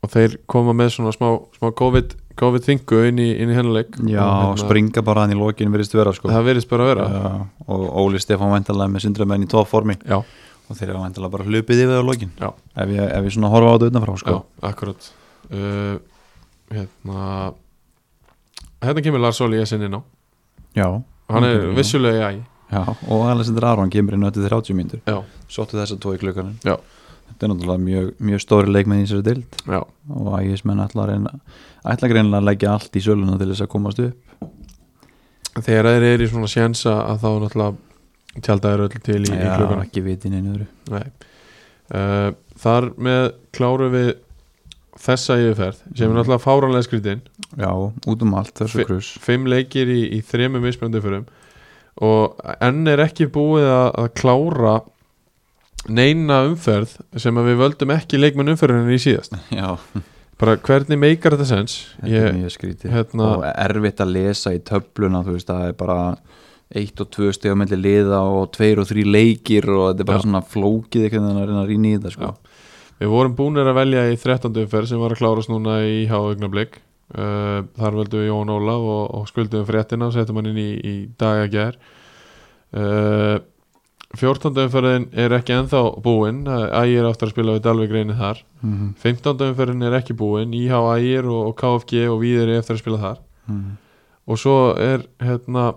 Speaker 1: og þeir koma með svona smá, smá COVID COVID-þingu inn í, inn í hennar leik
Speaker 2: Já,
Speaker 1: og, hérna-
Speaker 2: springa bara hann í lokinu virðist vera sko
Speaker 1: það verðist bara að vera
Speaker 2: Já, og Óli Stefán væntalega með sindramenn í tóformi
Speaker 1: Já,
Speaker 2: og þeir eru væntalega bara hlupið yfir á lokin
Speaker 1: Já.
Speaker 2: ef ég, ef ég svona horfa á þetta utanfrá sko
Speaker 1: já, akkurat uh, Hérna Hérna kemur Lars Óli í SN inn á
Speaker 2: Já,
Speaker 1: Hann er
Speaker 2: Ok, já.
Speaker 1: vissulega í æ
Speaker 2: já. og Alessandr Aron kemur inn á þetta 30 mínútur
Speaker 1: Já,
Speaker 2: sóttu þess að tói klukkanum
Speaker 1: Já.
Speaker 2: þetta er náttúrulega mjög, mjög stóri leikmenn í þessari dild
Speaker 1: já,
Speaker 2: og ægismenn ætla að reyna ætla greinilega að leggja allt í söluna til þess að komast upp
Speaker 1: þegar þeir eru í svona sjensa að þá náttúrulega tjaldæður öll til í, í
Speaker 2: Já,
Speaker 1: klukkuna
Speaker 2: ekki vitinn einu öðru
Speaker 1: Nei uh, Þar með kláru við þessa yfirferð sem er
Speaker 2: Mhm.
Speaker 1: náttúrulega fáranlega skritin
Speaker 2: Já, út um allt þessu
Speaker 1: Fi-
Speaker 2: krus
Speaker 1: Fimm leikir í, í þremum mismjöndi fyrir og enn er ekki búið að, að klára neina umferð sem að við völdum ekki leikmenn umferðinni í síðast
Speaker 2: Já,
Speaker 1: bara hvernig meikar þetta sens
Speaker 2: þetta er
Speaker 1: ég,
Speaker 2: mjög skrítið
Speaker 1: hérna,
Speaker 2: og erfitt að lesa í töfluna þú veist, það er bara eitt og tvö steg á melli liða og tveir og þrý leikir og þetta er bara
Speaker 1: Já.
Speaker 2: svona flókið einhvern veginn að reyna að rýna í þetta sko.
Speaker 1: við vorum búinir að velja í 13. umferð sem var að klárast núna í háaugnablik uh, þar völdum við Jón Ólaf og, og skuldum við fréttina og setjum hann inn í, í dagagjær uh, 14. umferðin er ekki ennþá búin ægir aftur að spila við Dalvik reyni þar
Speaker 2: Mhm.
Speaker 1: 15. umferðin er ekki búin IH ægir og, og KFG og Víðir er eftir að spila þar
Speaker 2: Mhm.
Speaker 1: og svo er hérna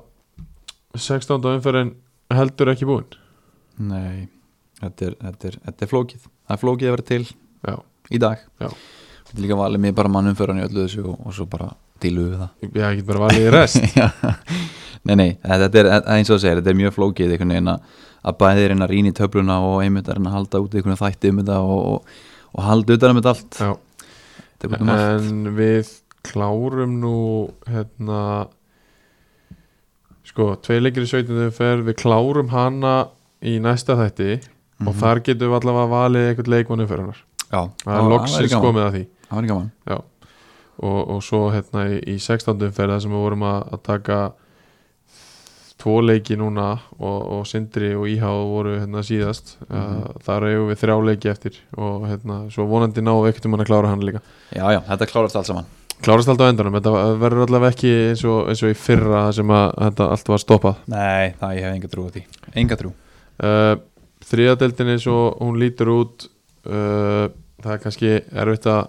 Speaker 1: 16. umferðin heldur ekki búin
Speaker 2: Nei, þetta er, þetta er, þetta er flókið Það er flókið að vera til
Speaker 1: Já.
Speaker 2: í dag
Speaker 1: Já.
Speaker 2: Þetta er líka valið mér bara mannum fyrir hann í öllu þessu og, og svo bara dílu við það
Speaker 1: Já, ég get bara valið í rest
Speaker 2: Já. Nei, nei, þetta er það er eins og það segir, þetta er mjög flókið einhvern veginn að, að bæðir reyna að rýna í töfluna og einmitt að reyna að halda út einhvern þætti um þetta og, og, og halda utan um þetta allt
Speaker 1: Já,
Speaker 2: Þetta er bara um allt
Speaker 1: en við klárum nú hérna sko, tvei leikir í 17. umferð við klárum hana í næsta þætti og þar getum við allavega valið eitthvað leikmann umferðunar
Speaker 2: Mhm. Já,
Speaker 1: það er loksins
Speaker 2: gaman,
Speaker 1: komið að því
Speaker 2: Það var gaman
Speaker 1: og, og svo hérna í, í 16. umferð þar sem við vorum að, að taka tvo leiki núna og, og Sindri og Íhá voru hérna síðast mm þar eigum við þrjá leiki eftir og hérna svo vonandi náum við ekkert um hann að klára hann líka
Speaker 2: Já, já, þetta klárast allt saman
Speaker 1: klárast alltaf á endanum, þetta verður allavega ekki eins og, eins og í fyrra þar sem að þetta allt var stoppað
Speaker 2: Nei, það ég hef enga trú á því Enga trú
Speaker 1: uh, þriðadeldin eins og hún lítur út uh, það er kannski erfitt að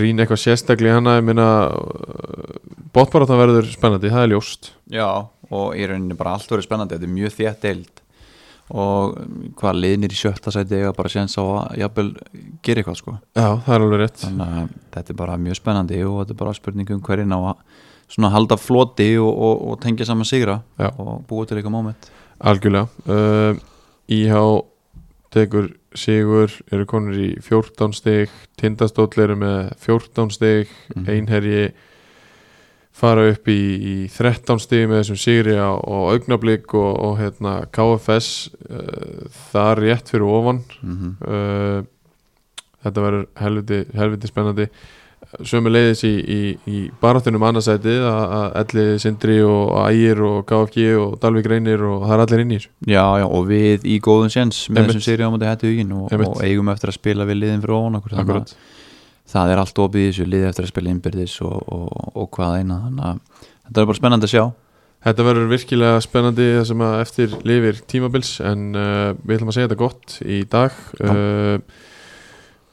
Speaker 1: rýna eitthvað sérstaklega í hana ég meina uh, bóttbaráttan verður spennandi, það er ljóst
Speaker 2: Já, og í rauninni bara allt verið spennandi þetta er mjög þétt deild og um, hvað liðnir í sjötta sæti eiga bara séns á að jafnvel gera eitthvað sko
Speaker 1: já, það er alveg rétt
Speaker 2: þannig að þetta er bara mjög spennandi og þetta er bara spurning um hverjinn á að svona halda floti og, og, og tengja saman sigra
Speaker 1: Já.
Speaker 2: og búa til eitthvað moment
Speaker 1: algjörlega uh, IH tekur sigur eru konur í 14 stig tindastóll eru með 14 stig
Speaker 2: Mhm.
Speaker 1: einherji fara upp í, í 13 stig með þessum sigri á, á augnablík og, og hérna, KFS uh, þar rétt fyrir ofan
Speaker 2: mm
Speaker 1: uh, þetta verður helviti, helviti spennandi sömu leiðis í, í, í baráttunum annarsætið að að Elliði Sindri og Ægir og KFG og Dalvik Reynir og það er allir inn í þessu
Speaker 2: Já, já, og við í góðum séns með
Speaker 1: Einmitt.
Speaker 2: þessum sigri á mútið hættu huginn og,
Speaker 1: Einmitt.
Speaker 2: og eigum eftir að spila við liðin fyrir ofan okkur þannig að
Speaker 1: Akkurat.
Speaker 2: það er allt opið í þessu liði eftir að spila innbyrðis og, og, og hvað eina þannig að þetta er bara spennandi að sjá
Speaker 1: Þetta verður virkilega spennandi það sem að eftir lifir tímabils en uh, við ætlum að segja þetta gott í dag
Speaker 2: Já.
Speaker 1: uh,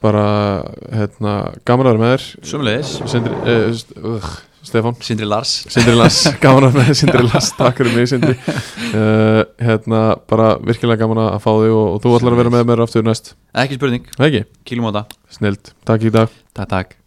Speaker 1: bara hérna, gaman að vera með þér
Speaker 2: Sumleis
Speaker 1: Sindri, uh, st uh, Stefán
Speaker 2: Sindri Lars
Speaker 1: Sindri Lass, gaman að vera með þér, Sindri Lass takk fyrir mig Sindri uh, hérna, bara virkilega gaman að fá þig og, og þú ætlar að vera með mér aftur næst,
Speaker 2: Ekki spurning,
Speaker 1: Það ekki?
Speaker 2: kílum á það
Speaker 1: Snilt, takk í dag
Speaker 2: Takk, takk